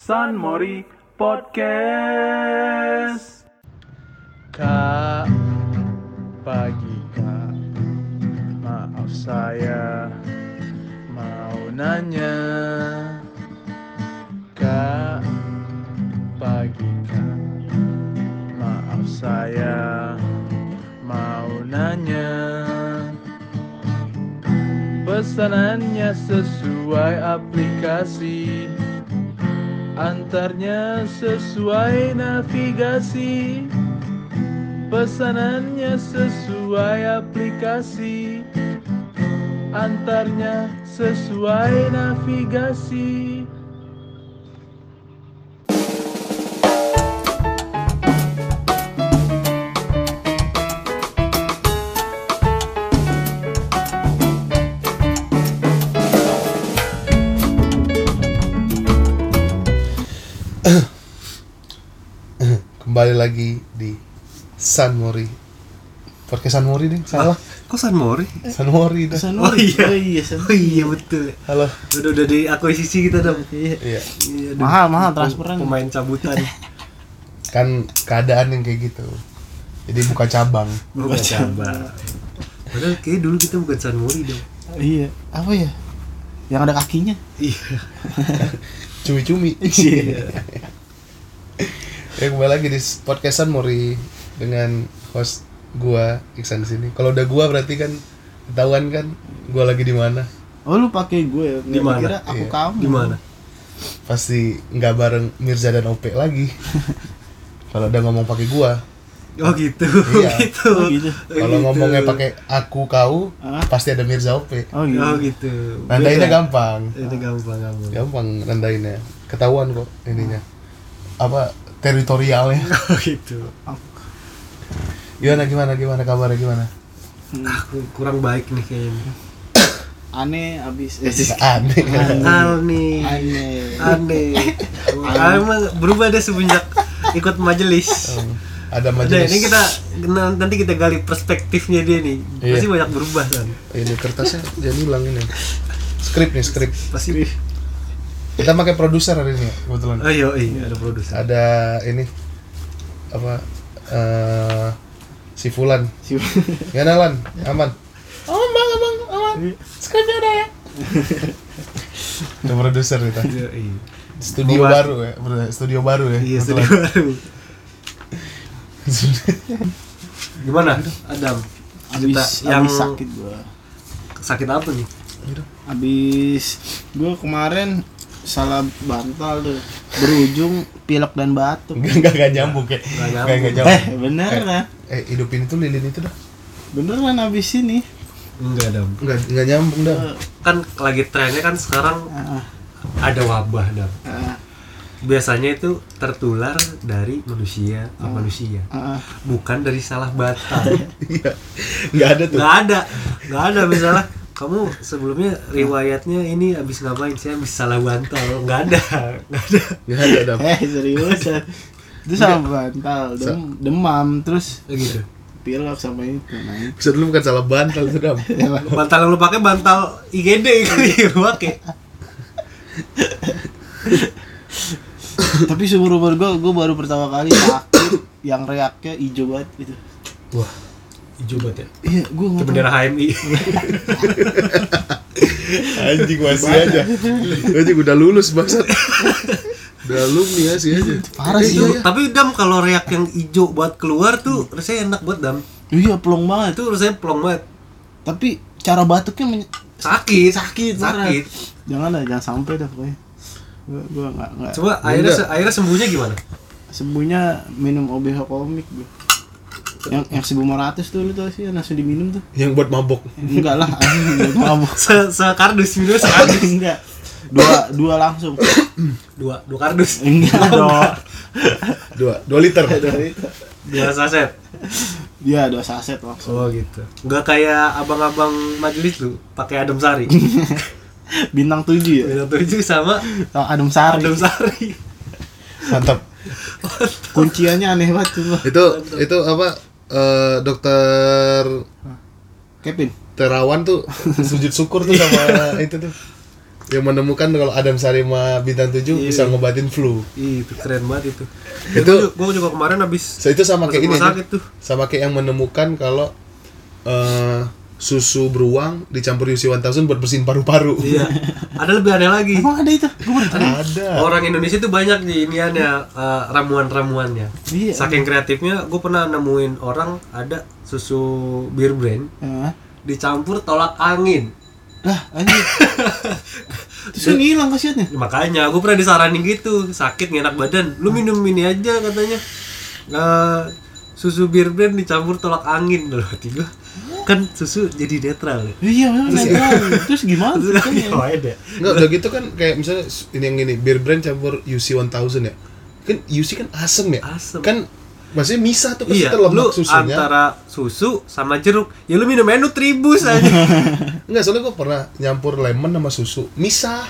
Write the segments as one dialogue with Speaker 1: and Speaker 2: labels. Speaker 1: San Mori Podcast.
Speaker 2: Kak, pagi kak, maaf saya mau nanya. Kak, pagi kak, maaf saya mau nanya. Pesanannya sesuai aplikasi, antarnya sesuai navigasi. Pesanannya sesuai aplikasi Antarnya sesuai navigasi
Speaker 3: kembali lagi di San Mori podcast San Mori deh salah
Speaker 1: Kok San Mori?
Speaker 3: San Mori dah
Speaker 1: Oh iya.
Speaker 4: Oh iya, San.
Speaker 1: Oh iya betul.
Speaker 3: halo
Speaker 1: Udah udah di akuisisi kita dong.
Speaker 4: Iya.
Speaker 3: iya
Speaker 1: Iya, aduh.
Speaker 4: Mahal, mahal
Speaker 1: Pem-
Speaker 4: transferan.
Speaker 1: Pemain cabutan.
Speaker 3: kan keadaan yang kayak gitu jadi buka cabang
Speaker 1: Bukan cabang. Padahal kayak dulu kita bukan San Mori dong.
Speaker 4: Iya. Apa ya? Yang ada kakinya.
Speaker 1: Iya.
Speaker 3: cumi-cumi
Speaker 4: Iya.
Speaker 3: ya kembali lagi di podcast San Mori dengan host gua Iksan di sini kalau udah gua berarti kan ketahuan kan gua lagi di mana
Speaker 4: Oh lu pakai gue ya?
Speaker 1: Di
Speaker 4: Gua
Speaker 1: mana?
Speaker 4: Kira aku
Speaker 3: Iya.
Speaker 4: kamu.
Speaker 1: Gimana?
Speaker 3: pasti nggak bareng Mirza dan Ope lagi kalau udah ngomong pakai gua
Speaker 1: Oh gitu.
Speaker 3: Iya.
Speaker 1: gitu.
Speaker 4: Oh gitu.
Speaker 3: kalau ngomongnya pakai aku kau
Speaker 4: Hah?
Speaker 3: pasti ada Mirza Ope
Speaker 4: Oh gitu.
Speaker 1: Oh gitu.
Speaker 3: nandainnya
Speaker 1: Beda.
Speaker 3: gampang
Speaker 1: Itu gampang gampang.
Speaker 3: gampang rendainnya ketahuan kok ininya apa teritorialnya
Speaker 1: Oh gitu.
Speaker 3: gimana gimana gimana kabarnya gimana
Speaker 1: Hmm. Aku kurang baik nih kayaknya.
Speaker 4: Aneh abis.
Speaker 3: aneh
Speaker 1: Aneh.
Speaker 4: Aneh.
Speaker 1: Aneh. Wah, Emang berubah deh semenjak ikut majelis.
Speaker 3: ada
Speaker 1: Udah,
Speaker 3: majelis
Speaker 1: Nah, ini kita nanti kita gali perspektifnya dia nih.
Speaker 3: Iya.
Speaker 1: Pasti banyak berubah kan.
Speaker 3: ini kertasnya jadi hilang ini skrip nih skrip
Speaker 1: Pasti.
Speaker 3: kita pakai produser hari ini ya, kebetulan
Speaker 1: Oh iya, iya, ada produser.
Speaker 3: ada ini apa eh si Fulan
Speaker 4: Si-
Speaker 3: gimana Lan aman aman aman aman skripnya udah ya ada produser kita
Speaker 1: Iya, iya.
Speaker 3: studio
Speaker 1: Buat-
Speaker 3: baru ya bener, studio baru ya
Speaker 1: Iya,
Speaker 3: kebetulan.
Speaker 1: studio baru. Gimana? Adam. Cerita
Speaker 4: abis,
Speaker 1: yang
Speaker 4: abis sakit gue.
Speaker 1: sakit apa nih?
Speaker 4: Abis gue kemarin salah bantal tuh berujung pilek dan batuk.
Speaker 3: Enggak, enggak, enggak nyambung kayak.
Speaker 1: Enggak nyambung.
Speaker 3: Enggak, enggak
Speaker 4: Eh
Speaker 3: nyambung.
Speaker 4: beneran,
Speaker 3: Eh, hidupin itu lilin itu dah.
Speaker 4: beneran abis ini.
Speaker 1: Enggak, Adam.
Speaker 3: Enggak, enggak nyambung dah.
Speaker 1: Kan lagi trennya kan sekarang
Speaker 4: Ah,
Speaker 1: ada wabah, Adam.
Speaker 4: ah,
Speaker 1: Biasanya itu tertular dari manusia
Speaker 3: Oh.
Speaker 1: ke manusia.
Speaker 4: ah, ah.
Speaker 1: Bukan dari salah batal.
Speaker 3: Iya. Enggak ada tuh.
Speaker 1: nggak ada nggak ada misalnya kamu sebelumnya riwayatnya ini abis ngapain sih abis salah bantal nggak ada nggak ada
Speaker 3: Enggak ada dah.
Speaker 4: Eh serius ya. Itu sama bantal, dem- demam, terus
Speaker 1: Ya gitu
Speaker 4: pilek sama itu. Nah, itu.
Speaker 3: Bisa dulu bukan salah bantal itu dah.
Speaker 1: bantal yang lu pakai bantal IGD kali gitu, yang lu pakai
Speaker 4: Tapi seumur umur gue, gue baru pertama kali sakit yang reaknya hijau banget gitu.
Speaker 3: Wah,
Speaker 1: hijau banget ya
Speaker 4: Iya, gue
Speaker 1: Kayak
Speaker 4: nggak
Speaker 1: bendera HMI
Speaker 3: anjing masih aja. Anjing udah lulus bangsat. Udah alumni ya sih aja.
Speaker 4: tahu. parah sih.
Speaker 1: itu
Speaker 4: Iya,
Speaker 1: tapi dam kalau reak yang hijau buat keluar tuh rasanya enak buat dam
Speaker 4: iya pelong banget.
Speaker 1: itu rasanya plong banget
Speaker 4: Tapi cara batuknya men-
Speaker 1: sakit
Speaker 4: sakit, parah.
Speaker 1: sakit
Speaker 4: Jangan lah, jangan sampai dah pokoknya. Gue gue nggak nggak.
Speaker 1: coba akhirnya se- akhirnya sembuhnya gimana
Speaker 4: Sembuhnya minum OBH komik gue. Yang yang sebelum 100 tuh lu tau sih yang langsung diminum tuh.
Speaker 3: Yang buat mabok.
Speaker 4: Enggak lah, anjing, enggak mabuk.
Speaker 1: se sekardus minumnya sekardus
Speaker 4: Enggak. Dua dua langsung.
Speaker 1: dua dua kardus
Speaker 4: Enggak Iya, dong.
Speaker 3: Dua, dua liter.
Speaker 1: dua saset
Speaker 4: Iya, dua saset langsung.
Speaker 1: Oh gitu. Nggak kayak abang-abang majelis lu pakai Adam Sari.
Speaker 4: Bintang 7 ya.
Speaker 1: Beda tujuh sama
Speaker 4: Oh, Adam Sari.
Speaker 1: Adam Sari.
Speaker 3: Mantap.
Speaker 4: Kunciannya aneh banget tuh.
Speaker 3: Itu itu apa eh dokter
Speaker 4: Kevin.
Speaker 1: Iya.
Speaker 3: Terawan tuh sujud syukur tuh sama itu tuh yang menemukan kalau Adam Sarima bintang 7
Speaker 1: Iya.
Speaker 3: bisa ngobatin flu.
Speaker 1: Ih, itu keren banget itu.
Speaker 3: Itu-
Speaker 1: gue juga kemarin habis
Speaker 3: So, itu sama
Speaker 1: masuk
Speaker 3: kayak ini.
Speaker 1: rumah sakit tuh.
Speaker 3: Sama kayak yang menemukan kalau eh, susu beruang dicampur UC 1000 buat bersihin paru-paru.
Speaker 1: Iya. Ada lebih aneh lagi.
Speaker 4: Emang ada itu? Gue baru tahu.
Speaker 3: Ada.
Speaker 1: Orang Indonesia tuh banyak nih iniannya eh, ramuan-ramuannya.
Speaker 4: Iya.
Speaker 1: Saking kreatifnya, gue pernah nemuin orang ada susu bir brand
Speaker 4: Hah?
Speaker 1: dicampur tolak angin.
Speaker 4: Lah, anjir. Terus kan hilang khasiatnya.
Speaker 1: Makanya gue pernah disaranin gitu, sakit nggak enak badan, lu minum ini aja katanya. Eh, susu bir brand dicampur tolak angin loh hati gua. Kan susu jadi netral ya.
Speaker 4: Iya, memang netral. Terus gimana?
Speaker 1: Terus kan
Speaker 4: ceritanya?
Speaker 1: ngapain ya?
Speaker 3: Nggak, udah gitu kan kayak misalnya s- ini yang ini beer brand campur UC 1000 ya. Kan UC kan asem ya.
Speaker 1: Asem.
Speaker 3: Kan maksudnya misah tuh pasti
Speaker 1: Iya,
Speaker 3: tuh lemak
Speaker 1: lu
Speaker 3: susunya.
Speaker 1: antara susu sama jeruk, ya lu minum menu tribus aja.
Speaker 3: Enggak, soalnya gue pernah nyampur lemon sama susu, misah.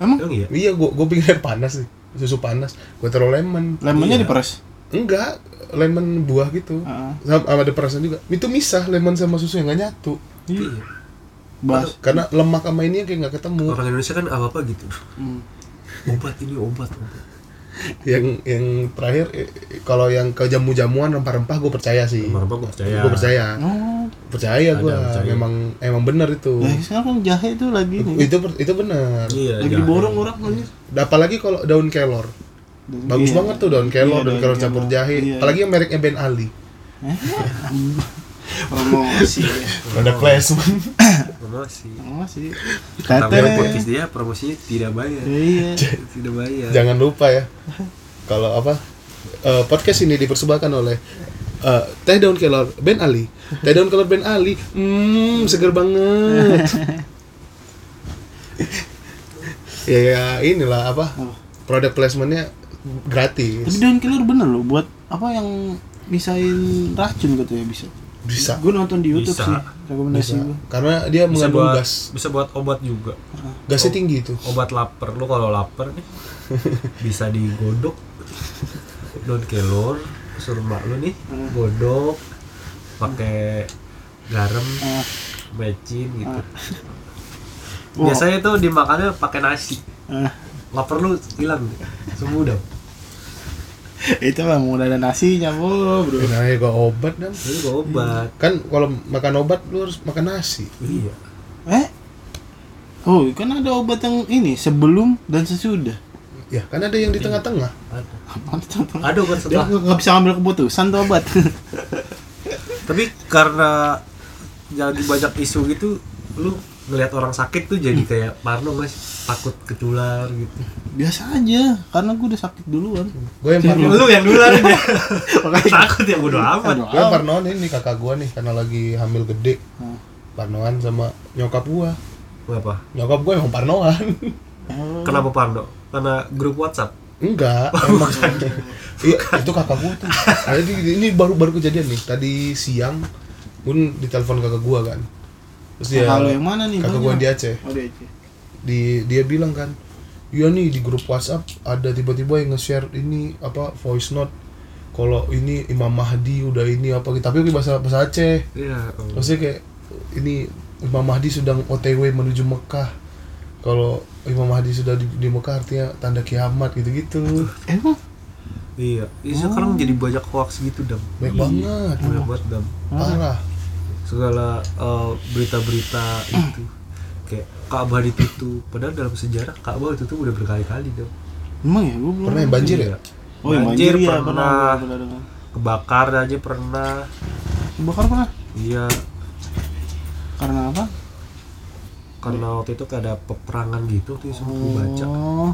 Speaker 4: Emang
Speaker 1: Emang iya?
Speaker 3: Iya, gue gue pikir panas nih, susu panas. Gue taruh lemon.
Speaker 4: lemonnya
Speaker 1: Iya.
Speaker 4: diperes.
Speaker 3: Enggak, lemon buah gitu.
Speaker 4: Heeh.
Speaker 3: Sama sama ada perasan juga. Itu misah lemon sama susu yang gak nyatu.
Speaker 1: Iya.
Speaker 4: Bas.
Speaker 3: Karena lemak sama ini yang kayak gak ketemu.
Speaker 1: Orang Indonesia kan apa apa gitu.
Speaker 4: Hmm.
Speaker 1: Obat ini obat. obat.
Speaker 3: Yang yang terakhir eh, eh, kalau yang ke jamu-jamuan rempah-rempah gue percaya sih.
Speaker 1: Rempah-rempah gua percaya.
Speaker 4: iya.
Speaker 3: Gue percaya.
Speaker 4: Oh,
Speaker 3: Percaya
Speaker 1: Ada,
Speaker 3: gue.
Speaker 1: percaya.
Speaker 3: Memang emang bener itu.
Speaker 4: lah sekarang kan jahe itu lagi nih.
Speaker 3: Itu per- itu bener.
Speaker 1: Iya.
Speaker 4: Lagi diborong orang anjir.
Speaker 3: Apalagi kalau daun kelor. Bagus
Speaker 4: Iya.
Speaker 3: banget tuh daun kelor,
Speaker 4: Iya,
Speaker 3: daun,
Speaker 4: daun
Speaker 3: kelor campur
Speaker 4: kelor.
Speaker 3: jahe.
Speaker 4: Iya,
Speaker 3: Apalagi yang mereknya Ben Ali.
Speaker 4: Promosi.
Speaker 3: Ada placement.
Speaker 1: Promosi.
Speaker 4: Promosi.
Speaker 1: Tapi yang
Speaker 4: Tete.
Speaker 1: podcast dia promosinya tidak bayar.
Speaker 4: Iya.
Speaker 1: Tidak bayar.
Speaker 3: Jangan lupa ya. Kalau apa? eh, podcast ini dipersembahkan oleh eh, Teh Daun Kelor Ben Ali. Teh Daun Kelor Ben Ali. Hmm, seger banget. ya, ya inilah apa?
Speaker 4: Apa?
Speaker 3: Produk placementnya
Speaker 4: Tapi
Speaker 3: gratis.
Speaker 4: daun kelor bener loh buat apa yang misain racun katanya bisa.
Speaker 3: Bisa.
Speaker 4: Gue nonton di YouTube
Speaker 1: Bisa.
Speaker 4: sih rekomendasi
Speaker 3: Bisa.
Speaker 4: gue.
Speaker 3: Karena dia
Speaker 1: Bisa
Speaker 3: mengandung
Speaker 1: buat
Speaker 3: gas.
Speaker 1: bisa buat obat juga.
Speaker 3: Gasnya tinggi itu.
Speaker 1: Obat lapar. Lu kalau lapar nih bisa digodok. Daun kelor, suruh mak lu nih godok pakai garam,
Speaker 4: Ah.
Speaker 1: mecin gitu.
Speaker 4: Wah.
Speaker 1: Biasanya itu dimakannya pakai nasi.
Speaker 4: Ah,
Speaker 1: Lapar lu hilang. Sembuh udah.
Speaker 4: itu mah mau ada nasinya, bro. bro.
Speaker 3: Nah, ya gua obat dan
Speaker 1: Ini gua obat.
Speaker 3: kan kalau makan obat lu harus makan nasi.
Speaker 1: Iya.
Speaker 4: Eh? Oh, kan ada obat yang ini sebelum dan sesudah.
Speaker 3: Ya, kan ada yang di tengah-tengah.
Speaker 1: Ada.
Speaker 4: Apaan tuh? Tom?
Speaker 1: Ada kan
Speaker 4: Dia
Speaker 1: setelah
Speaker 4: nggak nggak bisa ngambil keputusan tuh obat.
Speaker 1: tapi karena jadi banyak isu gitu lu ngelihat orang sakit tuh jadi kayak parno gak sih? takut ketular gitu
Speaker 4: Biasa aja, karena gue udah sakit duluan.
Speaker 3: Gue yang parno,
Speaker 1: lu yang nular ya
Speaker 4: Makanya
Speaker 1: takut ya bodo amat
Speaker 3: gue yang parnoan ini kakak gua nih karena lagi hamil gede.
Speaker 4: Hmm.
Speaker 3: Parnoan sama nyokap gua.
Speaker 1: kenapa
Speaker 3: Nyokap gua emang parnoan.
Speaker 1: kenapa parno karena grup WhatsApp
Speaker 3: Enggak, emang Iya, itu kakak gua tuh. Jadi ini baru baru kejadian nih. Tadi siang pun ditelepon kakak gua kan. Terus dia
Speaker 4: Halo yang mana nih?
Speaker 3: Iya. kakak
Speaker 4: Bang?
Speaker 3: gua yang di Aceh.
Speaker 4: Oh, di Aceh.
Speaker 3: di dia bilang kan iya nih di grup WhatsApp ada tiba-tiba yang nge-share ini apa voice note kalau ini Imam Mahdi udah ini apa gitu tapi bahasa bahasa Aceh
Speaker 1: iya oh.
Speaker 3: maksudnya kayak ini Imam Mahdi sedang OTW menuju Mekah kalau Imam Mahdi sudah di, di Mekah artinya tanda kiamat gitu-gitu
Speaker 4: Emang?
Speaker 1: iya Ih, sekarang jadi banyak hoax gitu dam
Speaker 3: banyak banget
Speaker 1: banyak banget dam
Speaker 3: parah
Speaker 1: segala eh, berita-berita itu kayak Ka'bah ditutup padahal dalam sejarah Ka'bah ditutup udah berkali-kali dam
Speaker 4: Emang ya, gue belum.
Speaker 3: pernah yang banjir
Speaker 1: Iya.
Speaker 3: ya
Speaker 4: Oh, yang
Speaker 1: Banjir
Speaker 4: banjir, ya, pernah.
Speaker 1: pernah.
Speaker 4: pernah, pernah dengar.
Speaker 1: kebakar aja pernah
Speaker 4: Bakar pernah?
Speaker 1: iya
Speaker 4: Karena apa?
Speaker 1: karena waktu itu kayak ada peperangan gitu tuh semua gua baca
Speaker 4: Oh,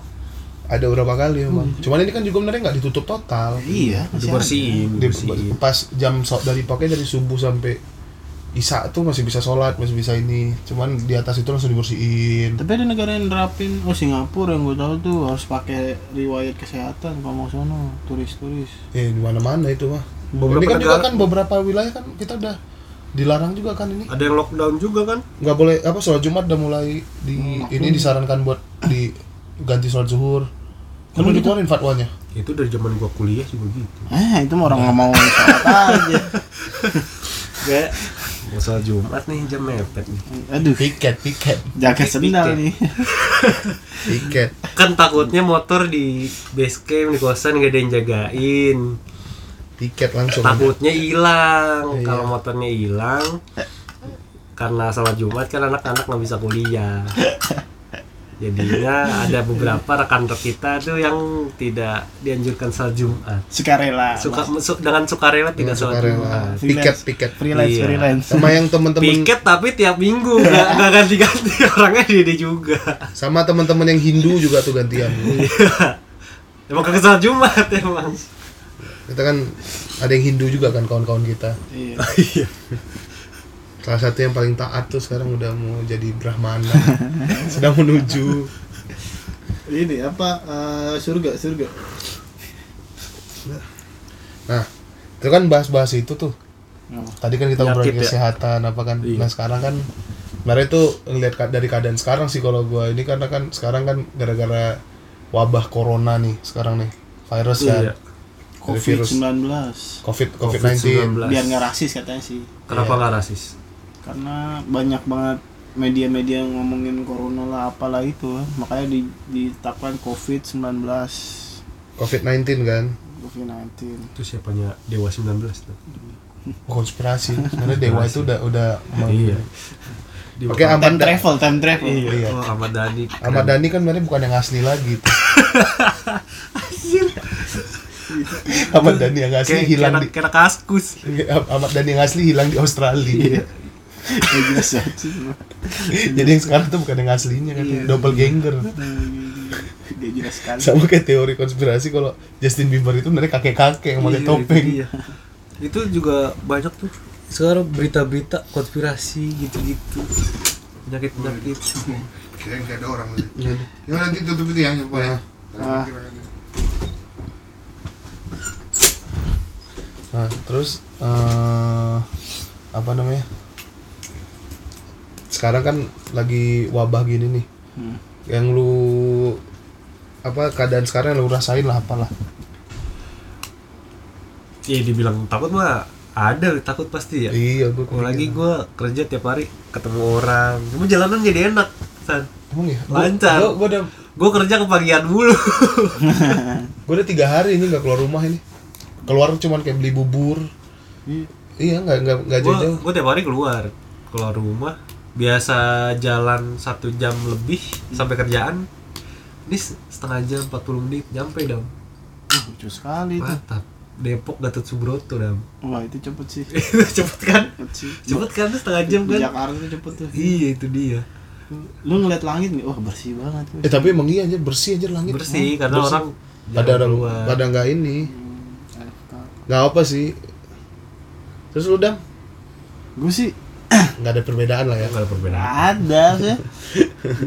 Speaker 3: ada berapa kali
Speaker 1: Iya.
Speaker 3: emang cuman ini kan juga benernya nggak ditutup total
Speaker 4: iya. masih ada.
Speaker 1: dibersihin
Speaker 3: Di-
Speaker 1: dibersihin
Speaker 3: pas jam so, dari pokoknya dari subuh sampai isya tuh masih bisa sholat masih bisa ini cuman di atas itu langsung dibersihin
Speaker 4: Tapi ada negara yang nerapin, oh Singapura yang gue tahu tuh harus pakai riwayat kesehatan kalau mau sono turis-turis.
Speaker 3: ya di mana mana itu mah
Speaker 1: Beberapa
Speaker 3: ini kan juga
Speaker 1: negara-
Speaker 3: kan beberapa wilayah kan kita udah dilarang juga kan ini
Speaker 1: ada yang lockdown juga kan
Speaker 3: nggak boleh apa sholat jumat udah mulai di
Speaker 1: Hmm,
Speaker 3: ini disarankan buat di ganti sholat zuhur kan
Speaker 1: gitu?
Speaker 3: udah dikeluarin fatwanya
Speaker 1: itu dari zaman gua kuliah juga gitu
Speaker 4: Eh, itu mah orang nggak mau sholat aja.
Speaker 1: kayak Mau sholat Jumat nih jam mepet nih.
Speaker 4: Aduh,
Speaker 3: Piket, piket,
Speaker 4: jaket sendal nih.
Speaker 3: piket.
Speaker 1: Kan takutnya motor di base camp di kosan gak ada yang jagain.
Speaker 3: Piket langsung.
Speaker 1: Takutnya hilang.
Speaker 3: Iya.
Speaker 1: Kalau motornya hilang karena sholat Jumat kan anak-anak nggak bisa kuliah. Jadinya ada beberapa rekan kita tuh yang tidak dianjurkan sholat Jumat.
Speaker 4: Sukarela.
Speaker 1: Suka su- dengan sukarela tidak
Speaker 3: Langsung
Speaker 1: sholat
Speaker 3: rela.
Speaker 1: Jumat.
Speaker 3: Piket, piket.
Speaker 4: freelance,
Speaker 1: Iya.
Speaker 4: freelance.
Speaker 3: Sama yang temen-temen
Speaker 1: Piket tapi tiap minggu nggak nggak ganti-ganti orangnya dia juga.
Speaker 3: sama teman-teman yang Hindu juga tuh gantian.
Speaker 1: Emang kagak sholat Jumat emang.
Speaker 3: Kita kan ada yang Hindu juga kan kawan-kawan kita.
Speaker 4: Iya.
Speaker 3: Salah satu yang paling taat tuh sekarang udah mau jadi Brahmana. Sedang menuju
Speaker 4: Ini apa eh, surga, surga.
Speaker 3: Nah, itu kan bahas-bahas itu tuh. Tadi kan kita ngobrolin
Speaker 1: Penyakit ya?
Speaker 3: kesehatan apa kan. Nah, sekarang kan sebenarnya itu ngelihat ka- dari keadaan sekarang sih kalau gua ini karena kan sekarang kan gara-gara wabah corona nih sekarang nih. Virus kan.
Speaker 1: Iya.
Speaker 3: Dari virus.
Speaker 4: Covid-19.
Speaker 3: Covid COVID-19.
Speaker 1: COVID-19. Iya.
Speaker 4: Biar nggak rasis katanya sih.
Speaker 1: Kenapa nggak rasis?
Speaker 4: Karena banyak banget media-media yang ngomongin corona lah apalah itu makanya di, ditetapkan COVID-19
Speaker 3: COVID-19 kan.
Speaker 4: COVID-19
Speaker 1: Itu siapanya Dewa 19 tuh.
Speaker 3: Oh, konspirasi. Sebenarnya dewa itu udah udah meng-
Speaker 1: Iya.
Speaker 3: Oke, Ahmad
Speaker 4: time
Speaker 3: Da-
Speaker 4: travel, time travel
Speaker 1: Iya.
Speaker 3: Iya.
Speaker 1: Oh, Ahmad Dhani.
Speaker 3: Ahmad Dhani kan sebenarnya bukan yang asli lagi tuh. Ahmad Dhani yang asli
Speaker 1: Kayak
Speaker 3: hilang di
Speaker 1: kira kaskus.
Speaker 3: Iya, Ahmad Dhani yang asli hilang di
Speaker 1: Iya.
Speaker 3: Australia.
Speaker 4: Ya, jelas banget sih.
Speaker 3: Jadi yang sekarang tuh bukan yang aslinya kan,
Speaker 4: Iya.
Speaker 3: doppelganger.
Speaker 4: Dia jelas sekali
Speaker 3: Sama kayak teori konspirasi kalau Justin Bieber itu sebenarnya kakek-kakek yang pakai
Speaker 1: Iya,
Speaker 3: topeng.
Speaker 1: itu dia. Itu juga banyak tuh sekarang berita-berita konspirasi gitu-gitu. Penyakit-penyakit.
Speaker 5: Kira nggak ada orang lagi. Gimana nanti tutup itu ya, coba ya.
Speaker 4: Ah.
Speaker 3: Nah, terus eh apa namanya? Sekarang kan lagi wabah gini nih.
Speaker 4: Hmm.
Speaker 3: Yang lu apa keadaan sekarang yang lu rasain lah apalah.
Speaker 1: Iya dibilang takut mah ada takut pasti ya.
Speaker 3: Iya, gue
Speaker 1: Mau lagi gue kerja tiap hari ketemu orang. Cuma jalanan jadi enak, San.
Speaker 3: Emang ya? Gua-
Speaker 1: Lancar.
Speaker 3: Gua, gua udah
Speaker 1: Gue kerja kepagian mulu.
Speaker 3: gua udah tiga hari ini nggak keluar rumah ini. Keluar cuman kayak beli bubur. Iya, nggak nggak nggak
Speaker 1: gue
Speaker 3: jauh-jauh.
Speaker 1: gue tiap hari keluar keluar rumah biasa jalan satu jam lebih sampai kerjaan ini s- setengah jam 40 menit nyampe dam
Speaker 4: Uh, lucu sekali itu
Speaker 1: mantap Depok Gatot Subroto dam
Speaker 4: wah itu cepet sih
Speaker 1: itu cepet kan
Speaker 4: cepet sih
Speaker 1: cepet kan tuh setengah jam
Speaker 4: di
Speaker 1: kan
Speaker 4: Jakarta tuh cepet tuh
Speaker 1: iya itu dia
Speaker 4: lu ngeliat langit nih wah bersih banget tuh.
Speaker 3: Eh tapi emang iya anjir bersih anjir langit.
Speaker 1: Gitu bersih karena
Speaker 3: Bersih.
Speaker 1: orang
Speaker 3: Pada
Speaker 1: jarang
Speaker 3: orang
Speaker 1: keluar.
Speaker 3: pada nggak ini. Nggak apa sih. Terus lu dam
Speaker 4: gue sih
Speaker 3: nggak ada perbedaan lah ya.
Speaker 1: nggak ada perbedaan
Speaker 4: ada sih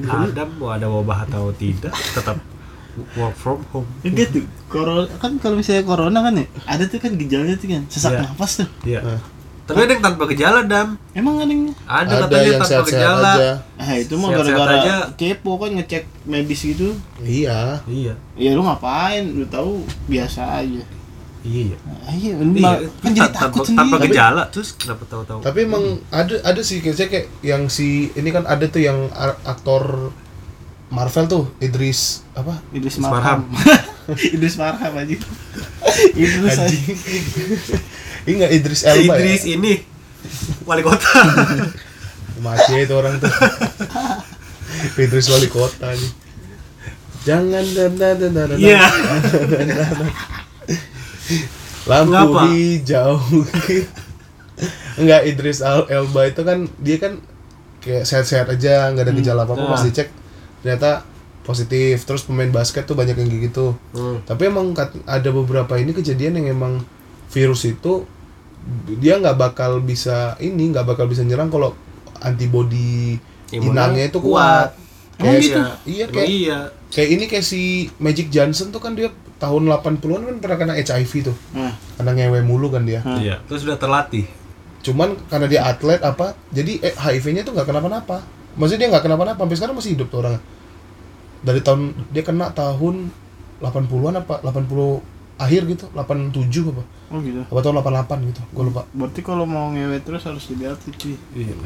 Speaker 1: ada mau ada wabah atau tidak tetap work from home
Speaker 4: Enggak Ya, tuh corona kan kalau misalnya corona kan ya ada tuh kan gejalanya tuh kan
Speaker 1: Iya.
Speaker 4: sesak nafas tuh
Speaker 1: Iya.
Speaker 3: Nah.
Speaker 1: tapi ada yang tanpa gejala dam
Speaker 4: emang ada yang
Speaker 1: ada,
Speaker 3: Ada
Speaker 1: katanya
Speaker 3: yang
Speaker 1: tanpa
Speaker 3: sehat-sehat
Speaker 1: gejala
Speaker 3: aja.
Speaker 4: ah itu mah
Speaker 1: Sehat-sehat aja.
Speaker 4: gara-gara kepo kan ngecek medis gitu
Speaker 3: Iya.
Speaker 1: iya
Speaker 4: ya lu ngapain lu tahu biasa aja
Speaker 1: iya
Speaker 4: Ah, iya lu
Speaker 1: Iya,
Speaker 4: malah- kan jadi
Speaker 1: tanpa-
Speaker 4: takut
Speaker 1: tanpa
Speaker 4: sendiri
Speaker 1: gejala terus kenapa tahu-tahu
Speaker 3: Tapi emang ada ada sih kayak saya kayak yang si ini kan ada tuh yang ar- aktor Marvel tuh Idris apa?
Speaker 4: Idris
Speaker 1: Marham.
Speaker 4: Marham. Idris Marham aja. Idris aja.
Speaker 3: Anjing. Ini nggak Idris
Speaker 1: Si
Speaker 3: Elba
Speaker 1: Idris
Speaker 3: ya?
Speaker 1: ini wali kota
Speaker 3: Mati ya itu orang tuh. Idris wali kota nih. Jangan dan dan dan dan.
Speaker 1: iya
Speaker 3: Lampu
Speaker 1: Ngapa?
Speaker 3: hijau. Enggak Idris Al- Elba itu kan dia kan kayak sehat-sehat aja, nggak ada gejala apa-apa
Speaker 1: nah.
Speaker 3: pas dicek ternyata positif. Terus pemain basket tuh banyak yang kayak gitu.
Speaker 4: Hmm.
Speaker 3: Tapi emang kat- ada beberapa ini kejadian yang emang virus itu dia nggak bakal bisa ini nggak bakal bisa nyerang kalau antibodi
Speaker 1: Imunnya
Speaker 3: inangnya itu
Speaker 1: kuat.
Speaker 3: kuat. Kayak
Speaker 1: gitu?
Speaker 3: Iya
Speaker 1: Emang
Speaker 3: kayak
Speaker 1: iya
Speaker 3: kayak ini kayak si Magic Johnson tuh kan dia tahun 80-an kan pernah kena HIV tuh.
Speaker 4: Nah,
Speaker 3: Karena ngewe mulu kan dia.
Speaker 4: Hah.
Speaker 1: iya terus sudah terlatih
Speaker 3: Cuman karena dia atlet apa, jadi eh, HIV-nya tuh nggak kenapa-napa. Maksudnya dia nggak kenapa-napa, sampai sekarang masih hidup tuh orangnya. Dari tahun dia kena tahun 80-an apa 80 akhir gitu 87 apa
Speaker 4: oh gitu
Speaker 3: apa tahun 88 gitu gue lupa
Speaker 4: berarti kalau mau ngewe terus harus dilatih cuy
Speaker 3: Nggak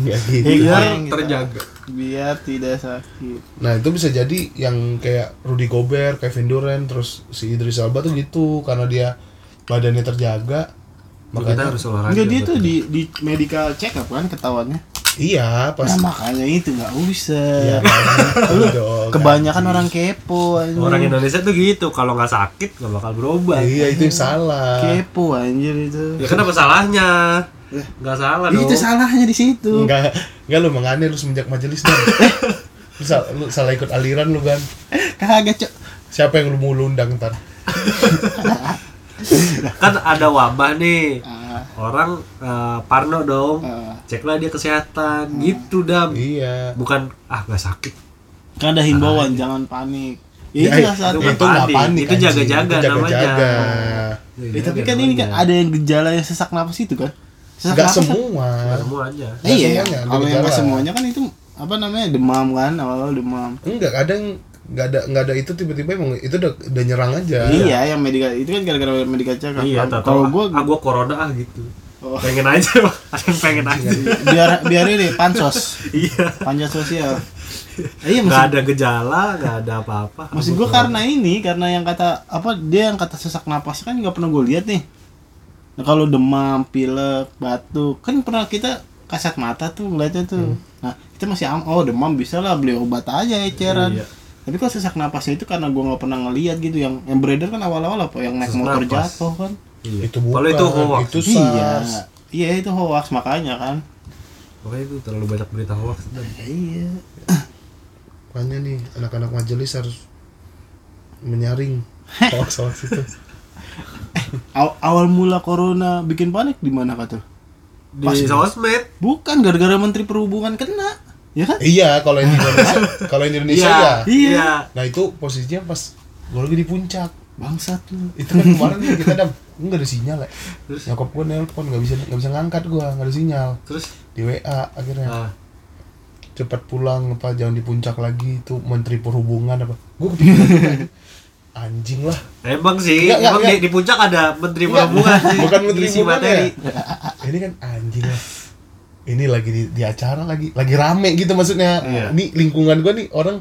Speaker 1: Iya,
Speaker 3: gitu.
Speaker 4: Biar
Speaker 5: terjaga.
Speaker 4: biar tidak sakit
Speaker 3: Nah itu bisa jadi yang kayak Rudy Gobert, Kevin Durant, terus si Idris Elba tuh gitu karena dia badannya terjaga.
Speaker 1: kita
Speaker 3: Makanya
Speaker 1: harus olahraga
Speaker 4: enggak dia tuh
Speaker 1: buat-
Speaker 4: di, di medical check up kan ketahuannya
Speaker 3: iya pas
Speaker 4: nah makanya itu nggak
Speaker 3: iya
Speaker 4: usah
Speaker 3: kan. Gitu dong, kan.
Speaker 4: kebanyakan orang kepo anjir.
Speaker 1: orang Indonesia tuh gitu kalau nggak sakit nggak bakal berubah
Speaker 3: Iya itu yang salah.
Speaker 4: kepo anjir itu
Speaker 1: ya kenapa salahnya nggak salah dong
Speaker 4: itu salahnya di situ
Speaker 3: Enggak enggak lu menganeh lu semenjak majelis dan lu, sal- lu salah ikut aliran lu kan.
Speaker 4: kagak cok
Speaker 3: Siapa yang lu mau lu undang ntar?
Speaker 1: kan ada wabah nih
Speaker 4: Ah,
Speaker 1: orang eh, parno dong
Speaker 4: ah.
Speaker 1: ceklah dia kesehatan gitu dam
Speaker 3: Iya.
Speaker 1: bukan ah nggak sakit
Speaker 4: kan ada himbauan jangan panik ya, itu
Speaker 3: Nah, Ya,
Speaker 4: lah saat
Speaker 1: itu bukan
Speaker 3: itu nggak
Speaker 1: panik,
Speaker 3: panik.
Speaker 1: itu
Speaker 3: anjing.
Speaker 1: jaga-jaga
Speaker 3: Itu jaga-jaga.
Speaker 4: Eh,
Speaker 1: Iya,
Speaker 4: tapi kan ini
Speaker 1: gitu.
Speaker 4: kan ada yang gejala yang sesak napas itu kan sesak
Speaker 3: Enggak
Speaker 4: napas kan-
Speaker 3: Iya. semua.
Speaker 1: semua aja
Speaker 3: Nggak
Speaker 4: iya
Speaker 3: semuanya, ada
Speaker 4: kalau yang nggak
Speaker 3: gejala.
Speaker 4: semuanya kan itu apa namanya demam kan awal-awal demam
Speaker 3: Enggak, kadang nggak ada nggak ada itu tiba-tiba emang itu udah, udah nyerang aja.
Speaker 4: Iya, yang medical itu kan gara-gara medical check up.
Speaker 1: iya
Speaker 4: Kan?
Speaker 1: tahu
Speaker 4: Kalau gua
Speaker 1: ah gua corona ah gitu
Speaker 4: Oh.
Speaker 1: pengen aja Bang. ada yang pengen aja
Speaker 4: biar biar ini pansos,
Speaker 1: iya
Speaker 4: panjat sosial. Eh, iya,
Speaker 1: nggak
Speaker 4: maksud,
Speaker 1: ada gejala nggak ada apa-apa
Speaker 4: maksud gua karena ini, karena yang kata apa dia yang kata sesak napas kan nggak pernah gua lihat nih. Nah, kalau demam, pilek, batuk, kan pernah kita kasat mata tuh ngeliatnya tuh. Nah, kita masih am oh demam bisa lah beli obat aja eceran.
Speaker 1: Iya.
Speaker 4: Tapi kalau sesak napasnya itu karena gua nggak pernah ngeliat gitu yang yang beredar kan awal-awal apa yang naik
Speaker 1: Sesak
Speaker 4: motor
Speaker 1: napas.
Speaker 4: jatuh kan.
Speaker 1: Iya.
Speaker 3: Itu bukan.
Speaker 1: kalau itu hoax
Speaker 3: Itu
Speaker 4: Iya.
Speaker 3: SARS.
Speaker 4: Iya itu hoax makanya kan.
Speaker 1: pokoknya itu terlalu banyak berita hoax dan
Speaker 4: Iya.
Speaker 3: Makanya nih anak-anak majelis harus menyaring hoax hoax itu.
Speaker 4: Aw- awal mula corona bikin panik di mana kata? lu?
Speaker 1: pas di sosmed
Speaker 4: Bukan gara-gara menteri perhubungan kena. Ya kan?
Speaker 3: iya, kalau yang di Indonesia, kalau yang di Indonesia ya.
Speaker 1: iya
Speaker 3: Nah itu posisinya pas gue lagi di puncak.
Speaker 4: Bangsat lu.
Speaker 3: Itu kan kemarin nih kita ada nggak ada sinyal ya. Nyokap gue nelpon nggak bisa nggak bisa ngangkat gue nggak ada sinyal
Speaker 1: terus
Speaker 3: di WA akhirnya
Speaker 1: ah,
Speaker 3: cepat pulang apa jangan di puncak lagi itu menteri perhubungan apa gue kepikiran tuh, anjing. anjing lah
Speaker 1: Emang sih,
Speaker 3: Enggak, enggak,
Speaker 1: emang
Speaker 3: enggak.
Speaker 1: Di, di puncak ada menteri
Speaker 3: Enggak,
Speaker 1: perhubungan sih.
Speaker 3: bukan menteri
Speaker 1: Ngisi
Speaker 3: perhubungan ya?
Speaker 1: materi.
Speaker 3: ini kan anjing lah ini lagi di, di acara lagi lagi rame gitu maksudnya ini lingkungan gua nih orang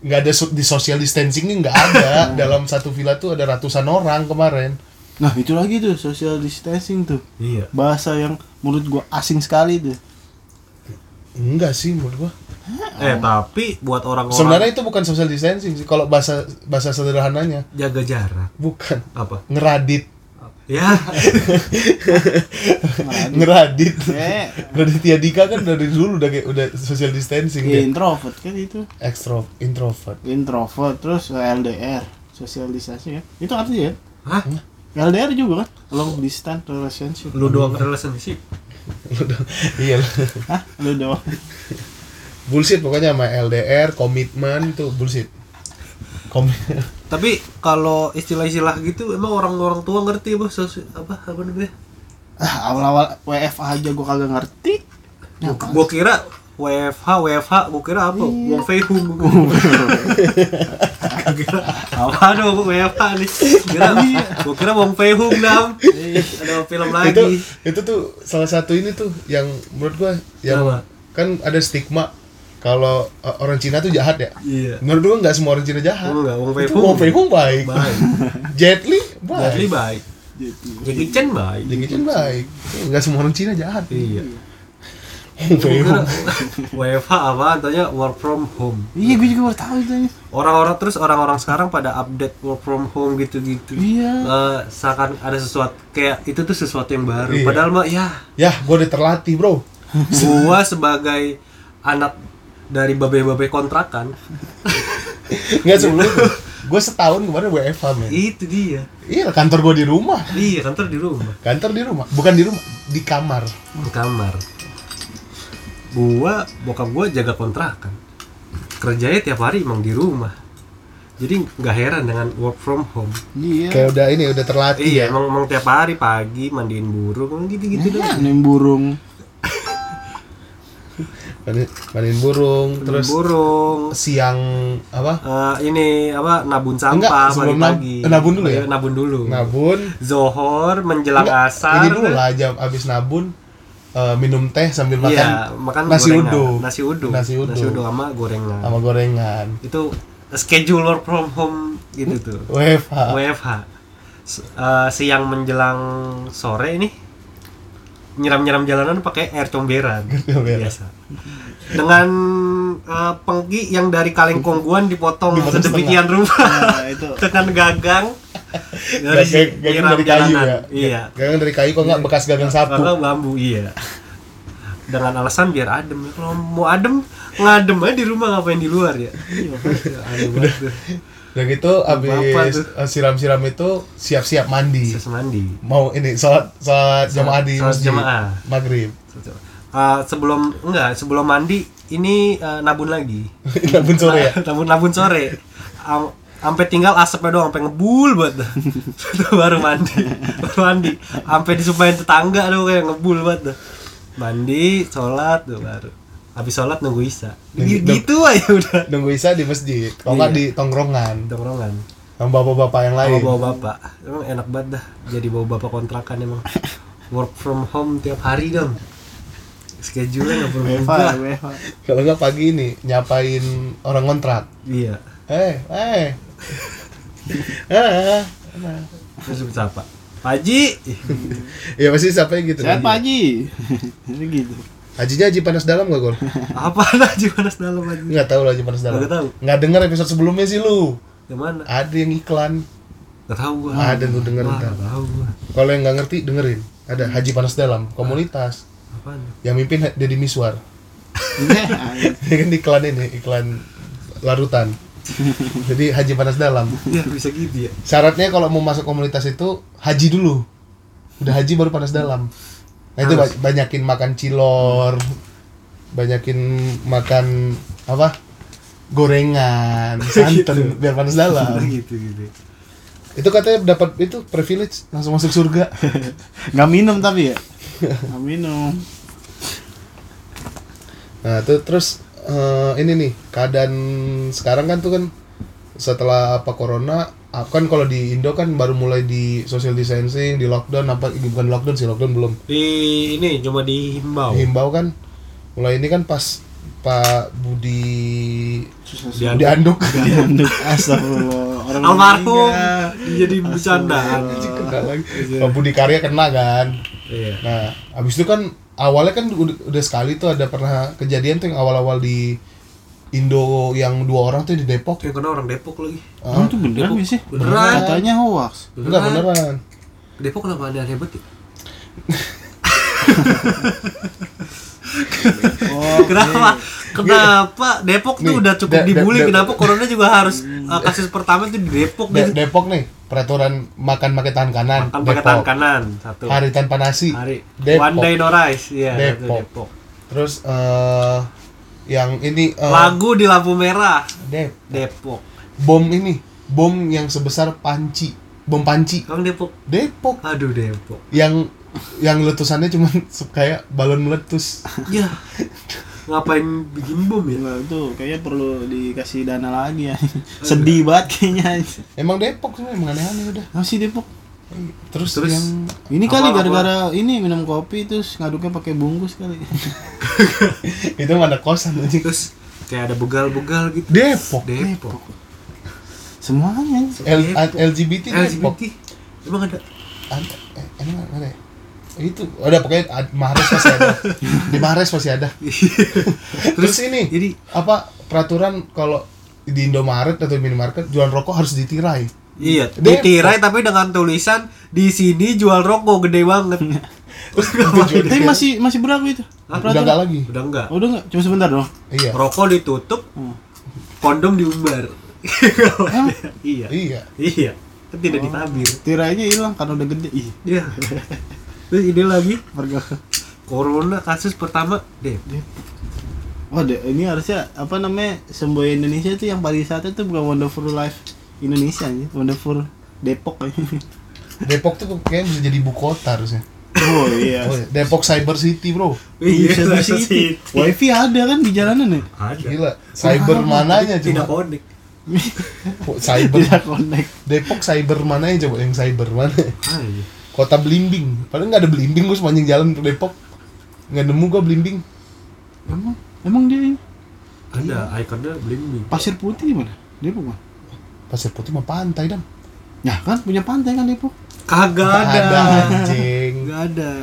Speaker 3: nggak ada so- di social distancingnya nggak ada dalam satu villa tuh ada ratusan orang kemarin
Speaker 4: Nah, itu lagi tuh social distancing tuh.
Speaker 1: Iya.
Speaker 4: Bahasa yang menurut gua asing sekali tuh.
Speaker 3: enggak sih menurut gua
Speaker 1: Eh tapi buat orang-orang
Speaker 3: sebenarnya itu bukan social distancing sih kalau bahasa bahasa sederhananya
Speaker 1: jaga jarak
Speaker 3: bukan
Speaker 1: apa?
Speaker 3: ngeradit
Speaker 1: Ya,
Speaker 3: ngeradit
Speaker 4: Eh,
Speaker 3: Radit Yadika kan dari dulu udah kayak udah social distancing dia
Speaker 4: ya introvert kan itu.
Speaker 3: ekstro introvert
Speaker 4: Introvert terus LDR, social distancing ya. Itu artinya ya.
Speaker 1: hah?
Speaker 4: LDR juga kan, long distance relationship.
Speaker 1: Lu doang relationship.
Speaker 3: Udah, iya
Speaker 4: Hah, lu doang.
Speaker 3: bullshit pokoknya sama LDR komitmen tuh bullshit Kom
Speaker 1: Tapi kalau istilah-istilah gitu emang orang-orang tua ngerti apa sosi- apa apa namanya?
Speaker 4: Ah, awal-awal WFH aja gua kagak ngerti. Ya, apaan?
Speaker 1: Gua kira WFH, WFH, gua kira apa?
Speaker 3: Iya.
Speaker 1: Wong Fei Hung. Gua kira apa dong WFH nih? Kira, gua kira Wong Fei Hung dam. Ada film
Speaker 3: Iya. itu
Speaker 1: lagi.
Speaker 3: itu tuh salah satu ini tuh yang menurut gua yang
Speaker 1: Kenapa?
Speaker 3: kan ada stigma kalau uh, orang Cina tuh jahat ya
Speaker 1: Iya.
Speaker 3: menurut gua nggak semua orang Cina jahat
Speaker 1: Enggak, Wong Fei
Speaker 3: itu
Speaker 1: Hung.
Speaker 3: Wong Fei Hung baik
Speaker 1: Baik.
Speaker 3: Jet Li baik
Speaker 1: Jadi baik.
Speaker 4: Jadi,
Speaker 3: Iya.
Speaker 1: Jackie Chan baik.
Speaker 3: Jackie Chan baik nggak semua orang Cina jahat
Speaker 1: Iya.
Speaker 3: Wong Fei Hung
Speaker 1: WFH apa tanya work from home.
Speaker 4: Iya, gue juga baru tahu itu. anjir.
Speaker 1: Orang-orang terus orang-orang sekarang pada update work from home gitu-gitu.
Speaker 4: Iya.
Speaker 1: Eh, seakan ada sesuatu kayak itu tuh sesuatu yang baru.
Speaker 3: Iya.
Speaker 1: Padahal mah ya
Speaker 3: ya gua udah terlatih bro
Speaker 1: gua sebagai anak dari babe-babe kontrakan
Speaker 3: nggak
Speaker 1: Iya.
Speaker 3: sebelum gue setahun kemarin WFH men
Speaker 1: itu dia.
Speaker 3: iya kantor gue di rumah
Speaker 1: Iya kantor di rumah,
Speaker 3: kantor di rumah bukan di rumah di kamar
Speaker 1: di kamar. Gua bokap gua jaga kontrakan. Kerjanya tiap hari emang di rumah. Jadi nggak heran dengan work from home.
Speaker 4: Iya.
Speaker 3: kayak udah ini udah terlatih ya.
Speaker 1: Iya, emang, emang tiap
Speaker 3: Iya.
Speaker 1: hari pagi mandiin burung, emang gitu-gitu
Speaker 4: Iya,
Speaker 1: doang.
Speaker 4: nih burung.
Speaker 3: Manin, manin burung, terus
Speaker 1: burung
Speaker 3: siang apa?
Speaker 1: eh, ini apa nabun
Speaker 3: Enggak,
Speaker 1: sampah
Speaker 3: sebelum nab-
Speaker 1: pagi pagi
Speaker 3: nabun dulu ya?
Speaker 1: nabun dulu
Speaker 3: Nabun.
Speaker 1: zohor menjelang
Speaker 3: Enggak, Ini
Speaker 1: asar
Speaker 3: dulu lah jam abis nabun eh, minum teh sambil makan
Speaker 1: iya makan
Speaker 3: nasi
Speaker 1: gorengan.
Speaker 3: uduk.
Speaker 1: nasi uduk
Speaker 3: Nasi uduk.
Speaker 1: sama gorengan
Speaker 3: sama gorengan.
Speaker 1: itu schedule work from home gitu tuh
Speaker 3: WFH.
Speaker 1: WFH S- eh, siang menjelang sore ini nyiram-nyiram jalanan pakai air comberan
Speaker 3: comberan.
Speaker 1: biasa dengan eh, pengki yang dari kaleng kongguan dipotong,
Speaker 3: Dipotong
Speaker 1: sedemikian rupa
Speaker 4: Nah, itu
Speaker 1: tekan gagang dari
Speaker 3: Gagang, gagang
Speaker 1: nyiram
Speaker 3: dari kayu ya.
Speaker 1: jalanan. iya
Speaker 3: Gagang dari kayu kok nggak bekas gagang sapu.
Speaker 1: karena bambu iya dengan alasan biar adem kalau mau adem ngadem aja di rumah ngapain di luar ya Iya, aneh banget tuh.
Speaker 3: Udah gitu
Speaker 1: Apa
Speaker 3: abis
Speaker 1: tuh?
Speaker 3: eh, siram-siram itu siap-siap mandi.
Speaker 1: Terus mandi
Speaker 3: Mau ini sholat sholat jamaah di
Speaker 1: sholat
Speaker 3: masjid.
Speaker 1: jamaah.
Speaker 3: Maghrib.
Speaker 1: Eh, sebelum enggak sebelum mandi ini eh, nabun lagi
Speaker 3: Nabun sore ya.
Speaker 1: nabun nabun sore Am- ampe tinggal asapnya doang sampai ngebul buat dah. Tuh, baru mandi baru mandi sampai disumpahin tetangga tuh kayak ngebul buat dah. mandi sholat tuh baru habis sholat nunggu isya
Speaker 3: Nunggu-
Speaker 1: Gi- gitu aja udah
Speaker 3: Nunggu Isa di masjid. Kalau nggak
Speaker 1: Iya.
Speaker 3: di tongkrongan
Speaker 1: tongkrongan
Speaker 3: sama bapak-bapak yang
Speaker 1: sama
Speaker 3: lain.
Speaker 1: bawa bapak emang enak banget dah jadi bawa bapak kontrakan emang work from home tiap hari dong schedule nggak perlu
Speaker 4: WFH
Speaker 1: berubah
Speaker 4: WFH
Speaker 3: Kalau nggak pagi ini nyapain orang kontrak.
Speaker 1: iya
Speaker 3: Eh, eh. Eh,
Speaker 1: terus siapa Pak Haji
Speaker 3: ya pasti siapa gitu.
Speaker 4: siapa Haji Jadi gitu
Speaker 3: Hajinya Haji Panas Dalam gak, Gol?
Speaker 1: apa lah Haji panas dalam Haji
Speaker 3: Nggak tahu lah Haji Panas Dalam.
Speaker 1: Nggak tahu.
Speaker 3: Nggak denger episode sebelumnya sih lu.
Speaker 1: yang mana
Speaker 3: Ada yang iklan.
Speaker 1: nggak tahu gua
Speaker 3: Ah, Ada lu denger
Speaker 1: Wah,
Speaker 3: ntar.
Speaker 1: nggak tahu gua
Speaker 3: Kalau yang nggak ngerti dengerin. Ada Haji Panas Dalam, komunitas.
Speaker 1: apaan
Speaker 3: Yang mimpin Deddy Miswar.
Speaker 1: Iya.
Speaker 3: Dia kan iklan ini, iklan larutan. Jadi Haji Panas Dalam.
Speaker 1: ya bisa gitu ya
Speaker 3: Syaratnya kalau mau masuk komunitas itu haji dulu. Udah haji baru panas dalam. Nah itu ba- banyakin makan cilor, banyakin makan apa? gorengan, santan biar panas dalam.
Speaker 1: gitu gitu
Speaker 3: Itu katanya dapat itu privilege langsung masuk surga.
Speaker 4: nggak minum tapi ya nggak minum
Speaker 3: Nah, itu terus eh, ini nih, keadaan sekarang kan tuh kan setelah apa corona ah, kan kalau di Indo kan baru mulai di social distancing, di lockdown apa bukan lockdown sih, lockdown belum.
Speaker 1: di ini cuma dihimbau
Speaker 3: himbau kan mulai ini kan pas Pak Budi
Speaker 4: susah
Speaker 1: Di-
Speaker 3: Budi Anduk
Speaker 4: Dianduk astagfirullah orang
Speaker 1: almarhum
Speaker 4: meninggal.
Speaker 3: Iya.
Speaker 1: jadi bercandaan
Speaker 3: Anjing, kena lagi. Iya. Pak Budi Karya kena kan
Speaker 1: iya
Speaker 3: nah abis itu kan awalnya kan udah, udah sekali tuh ada pernah kejadian tuh yang awal-awal di Indo yang dua orang tuh di Depok
Speaker 1: yang kena orang Depok lagi
Speaker 4: Emang itu beneran nggak sih
Speaker 1: Beneran.
Speaker 4: katanya hoax
Speaker 3: enggak beneran
Speaker 1: Depok kenapa ada hebat ya?
Speaker 4: oh
Speaker 1: Kenapa? Kenapa Depok tuh
Speaker 3: Nih,
Speaker 1: udah cukup
Speaker 3: De- De-
Speaker 1: dibully?
Speaker 3: De-
Speaker 1: Kenapa corona juga harus uh, kasus pertama tuh di Depok
Speaker 3: De-
Speaker 1: gitu?
Speaker 3: Hmm. Depok nih peraturan makan pakai tangan kanan
Speaker 1: Makan pakai
Speaker 3: Depok
Speaker 1: tangan kanan satu.
Speaker 3: hari tanpa nasi
Speaker 1: Hari.
Speaker 3: Depok
Speaker 1: One day no rice. Iya, satu
Speaker 3: Depok. terus eh yang ini eh,
Speaker 1: Lagu di lampu merah
Speaker 3: Dep
Speaker 1: Depok.
Speaker 3: bom ini bom yang sebesar panci bom panci
Speaker 1: Kang Depok.
Speaker 3: Depok
Speaker 1: Aduh Depok.
Speaker 3: yang yang letusannya cuman se- kayak balon meletus
Speaker 1: Ya. Ngapain bikin bom ya?
Speaker 4: Enggak, itu kayaknya perlu dikasih dana lagi ya. Sedih banget kayaknya.
Speaker 3: emang Depok sih emang aneh-aneh udah
Speaker 4: Masih Depok.
Speaker 3: terus,
Speaker 1: Terus?
Speaker 3: yang
Speaker 4: Ini kali
Speaker 1: Apa-apa?
Speaker 4: gara-gara ini minum kopi terus ngaduknya pakai bungkus kali.
Speaker 3: itu mana kosan anjing
Speaker 1: Terus kayak ada begal-begal gitu.
Speaker 3: Depok
Speaker 1: Depok.
Speaker 4: Semuanya.
Speaker 3: L- LGBT
Speaker 1: Eh,
Speaker 3: Depok
Speaker 1: LGBT. Emang ada
Speaker 3: Ada- eh, emang ada ya? itu ada pokoknya ad- Mares pasti ada di Mares pasti ada terus ini
Speaker 1: jadi
Speaker 3: apa peraturan kalau di Indomaret atau minimarket jualan rokok harus ditirai
Speaker 1: Iya,
Speaker 3: Depok.
Speaker 1: ditirai tapi dengan tulisan di sini jual rokok gede banget.
Speaker 3: terus tujuan
Speaker 4: Tapi
Speaker 3: ditirai.
Speaker 4: masih masih berlaku itu.
Speaker 3: udah
Speaker 4: Peraturan.
Speaker 3: nggak lagi
Speaker 1: Udah enggak.
Speaker 4: Oh, udah enggak? Cuma sebentar dong.
Speaker 3: iya
Speaker 1: Rokok ditutup,
Speaker 4: Hmm.
Speaker 1: kondom diumbar. iya.
Speaker 3: iya
Speaker 1: Iya. Kan tidak ditabir.
Speaker 4: Tirainya hilang karena udah gede. Ih,
Speaker 1: Iya. Terus ini lagi
Speaker 4: pergaulan.
Speaker 1: corona kasus pertama deh.
Speaker 4: Wah, Oh, deh, ini harusnya apa namanya? Semboya Indonesia itu yang pariwisata itu bukan Wonderful Life Indonesia ya. Wonderful Depok ya.
Speaker 3: Depok tuh kayaknya bisa jadi ibu kota harusnya
Speaker 4: oh iya
Speaker 3: Oh, Depok Cyber City bro
Speaker 4: Iya,
Speaker 1: Cyber
Speaker 4: Cyber City. Wifi ada kan di jalanan ya?
Speaker 1: Ada.
Speaker 3: gila
Speaker 1: Iya.
Speaker 3: cyber mananya
Speaker 1: Tidak
Speaker 3: coba
Speaker 1: konek.
Speaker 3: cyber
Speaker 1: Iya.
Speaker 4: Tidak connect.
Speaker 3: Depok cyber mananya coba yang cyber mana
Speaker 1: Ayo.
Speaker 3: kota Blimbing padahal nggak ada Blimbing gue sepanjang jalan ke Depok nggak nemu gue Blimbing
Speaker 4: Emang emang dia
Speaker 1: Ada ikonnya bling
Speaker 4: pasir putih mana? Depok mah.
Speaker 3: Pasir Putih mah pantai dam
Speaker 4: Ya kan punya pantai kan Depok.
Speaker 1: Kagak
Speaker 3: Nggak
Speaker 1: ada.
Speaker 3: anjing
Speaker 1: Kagak ada.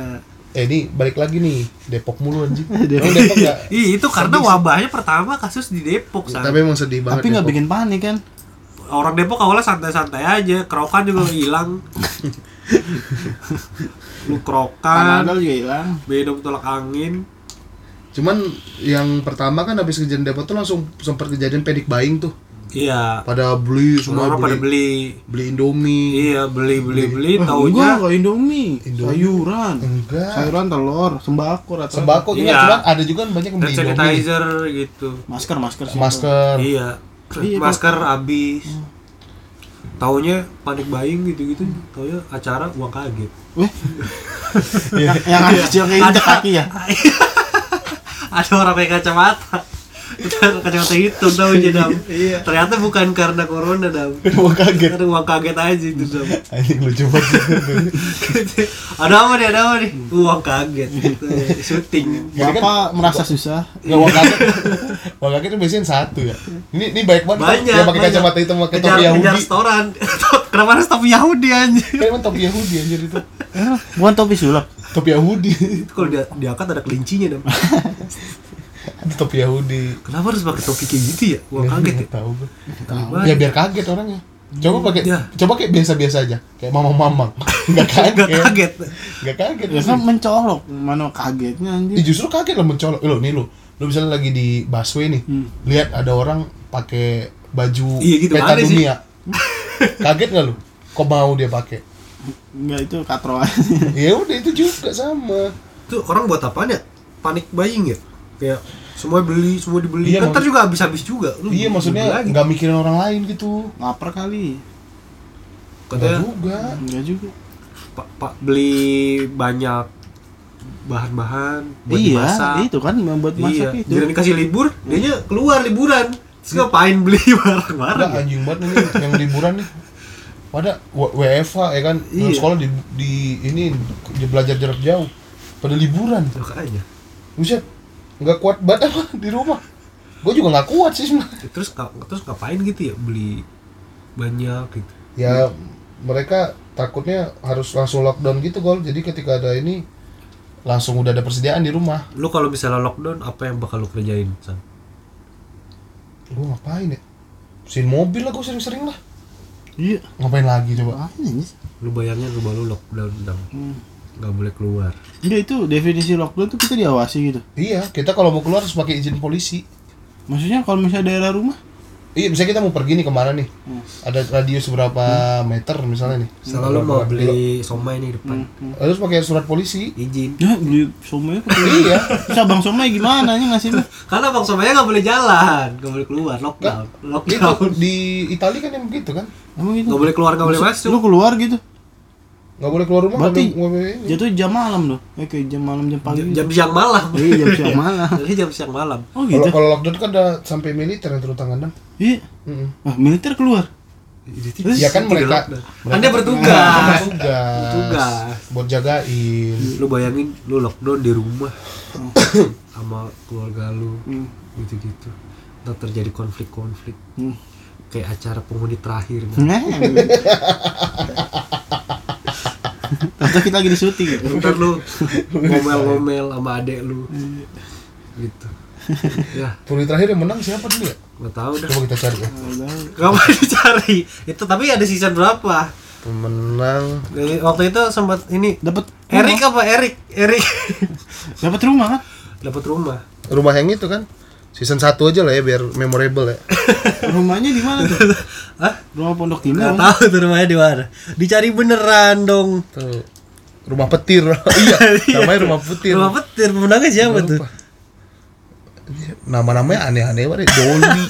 Speaker 3: eh ini balik lagi nih Depok mulu anjing
Speaker 4: Depok.
Speaker 3: Emang Depok nggak
Speaker 1: Ih, itu karena wabahnya pertama kasus di Depok, San.
Speaker 3: tapi emang sedih banget
Speaker 4: Tapi nggak
Speaker 3: Depok.
Speaker 4: bikin panik kan?
Speaker 1: Orang Depok awalnya santai-santai aja, krokan juga hilang. Lu krokan,
Speaker 4: Kanada juga hilang.
Speaker 1: bedok tolak angin.
Speaker 3: cuman yang pertama kan habis kejadian Depok tuh langsung sempat kejadian panic buying tuh
Speaker 1: Iya,
Speaker 3: pada beli semua
Speaker 1: orang pada
Speaker 3: beli, beli
Speaker 1: beli.
Speaker 3: Indomie
Speaker 1: Iya, beli beli beli
Speaker 4: Eh, enggak,
Speaker 1: taunya
Speaker 4: kalau Indomie,
Speaker 3: Indomie.
Speaker 4: sayuran,
Speaker 3: enggak
Speaker 4: sayuran telur, sembako rata.
Speaker 3: sembako juga
Speaker 1: Iya.
Speaker 3: cuman ada juga yang banyak yang
Speaker 1: hand
Speaker 3: beli Indomie
Speaker 1: sanitizer gitu.
Speaker 4: Masker, masker, sih.
Speaker 3: masker
Speaker 1: Iya.
Speaker 4: Iya,
Speaker 1: Masker habis. Taunya panik buying gitu-gitu, taunya acara uang kaget.
Speaker 4: Weh. yang yang ada kecil kayak
Speaker 1: Ada.
Speaker 4: injak kaki ya.
Speaker 1: Ada orang pakai kacamata. kacamata hitam tau aja dam. Ternyata bukan karena corona dam.
Speaker 3: Gua Iya. kaget
Speaker 1: Karena uang kaget aja itu dam.
Speaker 3: anjing lucu banget
Speaker 1: ada apa nih ada apa nih? Uang kaget. Gitu. Syuting.
Speaker 4: Bapak merasa susah.
Speaker 3: Gak wong kaget Wong kaget itu biasanya satu ya Ini, ini banyak banget
Speaker 1: Banyak.
Speaker 3: Yang pakai
Speaker 1: banyak.
Speaker 3: kacamata hitam pakai
Speaker 1: Kejar-
Speaker 3: topi
Speaker 1: kejar
Speaker 3: Yahudi
Speaker 1: restoran. Kenapa harus topi Yahudi anjir?
Speaker 3: Kayak emang topi Yahudi anjir itu
Speaker 4: Eh, Bukan topi sulap.
Speaker 3: Topi Yahudi
Speaker 1: Itu kalau dia diangkat ada kelincinya dong.
Speaker 3: Itu topi Yahudi
Speaker 1: Kenapa harus pakai topi kayak gitu ya? Gua kaget ya.
Speaker 3: Nggak tahu gue
Speaker 1: Kenapa?
Speaker 3: Ya biar kaget orangnya Coba pakai
Speaker 1: Iya.
Speaker 3: coba kayak biasa-biasa aja. Kayak mamang-mamang. Enggak
Speaker 1: Gak
Speaker 3: kaget.
Speaker 1: kaget.
Speaker 3: Enggak kaget.
Speaker 4: Ya kan mencolok. Mana kagetnya
Speaker 3: Ih,
Speaker 4: anjir.
Speaker 3: justru kaget lah mencolok. Lo nih lo. Lo misalnya lagi di busway nih.
Speaker 4: Hmm.
Speaker 3: Lihat ada orang pakai baju
Speaker 1: Iya, gitu,
Speaker 3: peta
Speaker 1: aneh sih.
Speaker 3: dunia. kaget gak lo? Kok mau dia pakai?
Speaker 4: Enggak itu katroan.
Speaker 3: Ya udah itu juga sama.
Speaker 1: Itu orang buat apaan ya? Panik buying ya? Kayak semua beli, semua dibeli.
Speaker 3: Iya,
Speaker 1: kan ntar juga habis-habis juga. Lu
Speaker 3: Iya
Speaker 1: beli
Speaker 3: maksudnya
Speaker 1: Oh, lagi.
Speaker 3: nggak mikirin orang lain gitu.
Speaker 4: Laper kali.
Speaker 3: Nggak
Speaker 1: Katanya
Speaker 3: juga.
Speaker 4: Enggak juga.
Speaker 1: pak pak beli banyak bahan-bahan buat
Speaker 4: iya,
Speaker 1: dimasak.
Speaker 4: itu kan membuat
Speaker 1: iya.
Speaker 4: masak itu.
Speaker 1: Jadi dikasih libur, dianya keluar liburan. Terus ngapain beli barang-barang
Speaker 3: Udah
Speaker 1: ya?
Speaker 3: anjing banget nih yang liburan nih. Pada W- WFH ya kan
Speaker 4: Iya.
Speaker 3: sekolah di, di ini di belajar jarak jauh. Pada liburan.
Speaker 1: Makanya.
Speaker 3: Buset. Nggak kuat banget apa di rumah. Gue juga nggak kuat sih sebenarnya.
Speaker 1: Terus nga- terus ngapain gitu ya beli banyak gitu.
Speaker 3: Ya mereka takutnya harus langsung lockdown gitu gol. Jadi ketika ada ini langsung udah ada persediaan di rumah.
Speaker 1: Lu kalau misalnya lockdown apa yang bakal lu kerjain? San?
Speaker 3: Gue ngapain ya? Sin mobil lah gue sering-sering lah.
Speaker 4: Iya.
Speaker 3: Ngapain lagi coba?
Speaker 4: Apaan ini?
Speaker 1: Lu bayangin rumah lu lockdown dong.
Speaker 4: Hmm.
Speaker 1: Nggak boleh keluar.
Speaker 4: Enggak itu definisi lockdown tuh kita diawasi gitu.
Speaker 3: Iya, kita kalau mau keluar harus pakai izin polisi.
Speaker 4: Maksudnya kalau misalnya daerah rumah,
Speaker 3: Iya, misalnya kita mau pergi nih kemana nih?
Speaker 1: Hmm.
Speaker 3: Ada radius berapa meter misalnya nih?
Speaker 1: Misalnya lu Hmm. mau beli somai nih depan.
Speaker 4: Hmm.
Speaker 3: Harus pakai surat polisi.
Speaker 1: Izin.
Speaker 4: ya beli somai pakai
Speaker 3: iya.
Speaker 4: Terus abang somai gimana nih ngasih lu?
Speaker 1: Karena bang somainya nggak boleh jalan, nggak boleh keluar, lockdown,
Speaker 3: Itu
Speaker 1: lockdown.
Speaker 3: di Italia kan yang begitu kan?
Speaker 4: Emang gitu.
Speaker 1: Nggak boleh keluar, nggak boleh
Speaker 4: Maksud-
Speaker 1: masuk.
Speaker 4: Lu keluar gitu.
Speaker 3: Nggak boleh keluar rumah. kan
Speaker 4: Berarti-
Speaker 3: nggak boleh- nggak boleh ini.
Speaker 4: Jatuh jam malam loh. Ya, kayak jam malam jam pagi.
Speaker 1: Jam,
Speaker 4: gitu.
Speaker 1: jam siang malam.
Speaker 4: Iya, jam siang malam.
Speaker 1: Jadi jam siang malam.
Speaker 4: Oh
Speaker 3: Kalau
Speaker 4: gitu.
Speaker 3: kalau lockdown kan ada sampai militer yang turun tangan dong.
Speaker 4: Iya.
Speaker 3: Mm-mm.
Speaker 4: Wah, militer keluar. Terus
Speaker 3: Ya kan mereka, Iya,
Speaker 1: Kan dia
Speaker 3: mereka
Speaker 1: bertugas.
Speaker 3: bertugas,
Speaker 1: Bertugas.
Speaker 3: buat jagain.
Speaker 1: Lu bayangin lu lockdown di rumah sama keluarga lu
Speaker 4: Hmm.
Speaker 1: gitu-gitu. Ntar terjadi konflik-konflik
Speaker 4: Hmm.
Speaker 1: kayak acara penghuni terakhir.
Speaker 4: Nah. Atau kita lagi di syuting gitu.
Speaker 1: Ntar lu ngomel-ngomel sama adek lu.
Speaker 4: Hmm.
Speaker 1: Gitu. Ya,
Speaker 3: Pulih terakhir yang menang siapa dulu ya?
Speaker 1: nggak tahu dah.
Speaker 3: Coba kita cari ya.
Speaker 1: Kapan dicari? Itu tapi ada season berapa?
Speaker 3: Pemenang
Speaker 1: Dari- Waktu itu sempat ini
Speaker 4: Dapat
Speaker 1: Erik apa Erik? Erik
Speaker 4: Dapat rumah kan?
Speaker 1: dapat rumah.
Speaker 3: rumah yang itu kan? Season 1 aja lah ya biar memorable ya.
Speaker 4: Rumahnya di mana tuh?
Speaker 1: Hah?
Speaker 4: Rumah Pondok
Speaker 1: Nggak
Speaker 4: Timur.
Speaker 1: tahu tuh rumahnya di mana. Dicari beneran dong.
Speaker 3: Tuh. Rumah petir. iya, namanya rumah petir.
Speaker 1: Rumah petir pemenangnya siapa tuh?
Speaker 3: Lupa. Nama-namanya aneh-aneh banget, ya. Doli.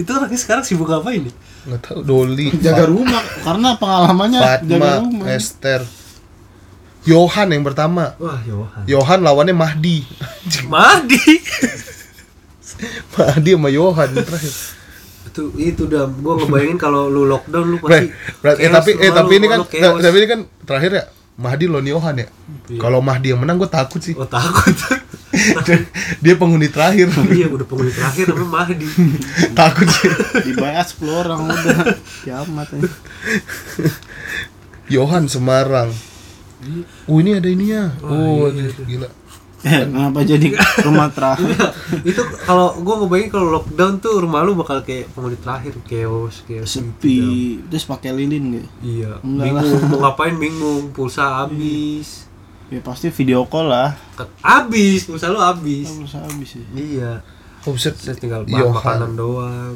Speaker 1: Itu orangnya sekarang sibuk apa ini?
Speaker 3: Enggak tahu Doli.
Speaker 4: Jaga rumah karena pengalamannya
Speaker 3: Fatma,
Speaker 4: jaga rumah.
Speaker 3: Esther. Johan yang pertama.
Speaker 1: Wah, ya Yohan.
Speaker 3: Johan lawannya Mahdi.
Speaker 1: Mahdi.
Speaker 3: Mahdi sama Johan terakhir.
Speaker 1: itu itu udah gua ngebayangin kalau lu lockdown lu
Speaker 3: Bre,
Speaker 1: pasti
Speaker 3: bre, eh,
Speaker 1: chaos
Speaker 3: tapi eh
Speaker 1: rumah
Speaker 3: tapi
Speaker 1: lu,
Speaker 3: ini kan
Speaker 1: lu chaos.
Speaker 3: tapi ini kan terakhir ya Mahdi lawan Johan ya. Kalau Mahdi yang menang gue takut sih.
Speaker 1: oh takut
Speaker 3: Dia penghuni terakhir.
Speaker 1: iya udah penghuni terakhir namanya Mahdi
Speaker 3: takut sih.
Speaker 4: dibayar 10 orang udah kiamat eh. ini
Speaker 3: Johan Semarang. Oh ini ada ininya. Oh, gila.
Speaker 4: eh, kenapa jadi rumah terakhir
Speaker 1: itu kalau gua ngebayangin kalau lockdown tuh rumah lu bakal kayak penghuni terakhir chaos chaos gitu.
Speaker 4: sepi terus pakai lilin gitu
Speaker 1: iya
Speaker 4: Enggak
Speaker 1: bingung mau ngapain bingung pulsa habis
Speaker 4: ya pasti video call lah
Speaker 1: Ke- habis pulsa lu habis
Speaker 4: Kan bisa habis ya
Speaker 1: iya
Speaker 3: Oh, buset.
Speaker 1: terus tinggal bahan
Speaker 3: Johan.
Speaker 1: makanan doang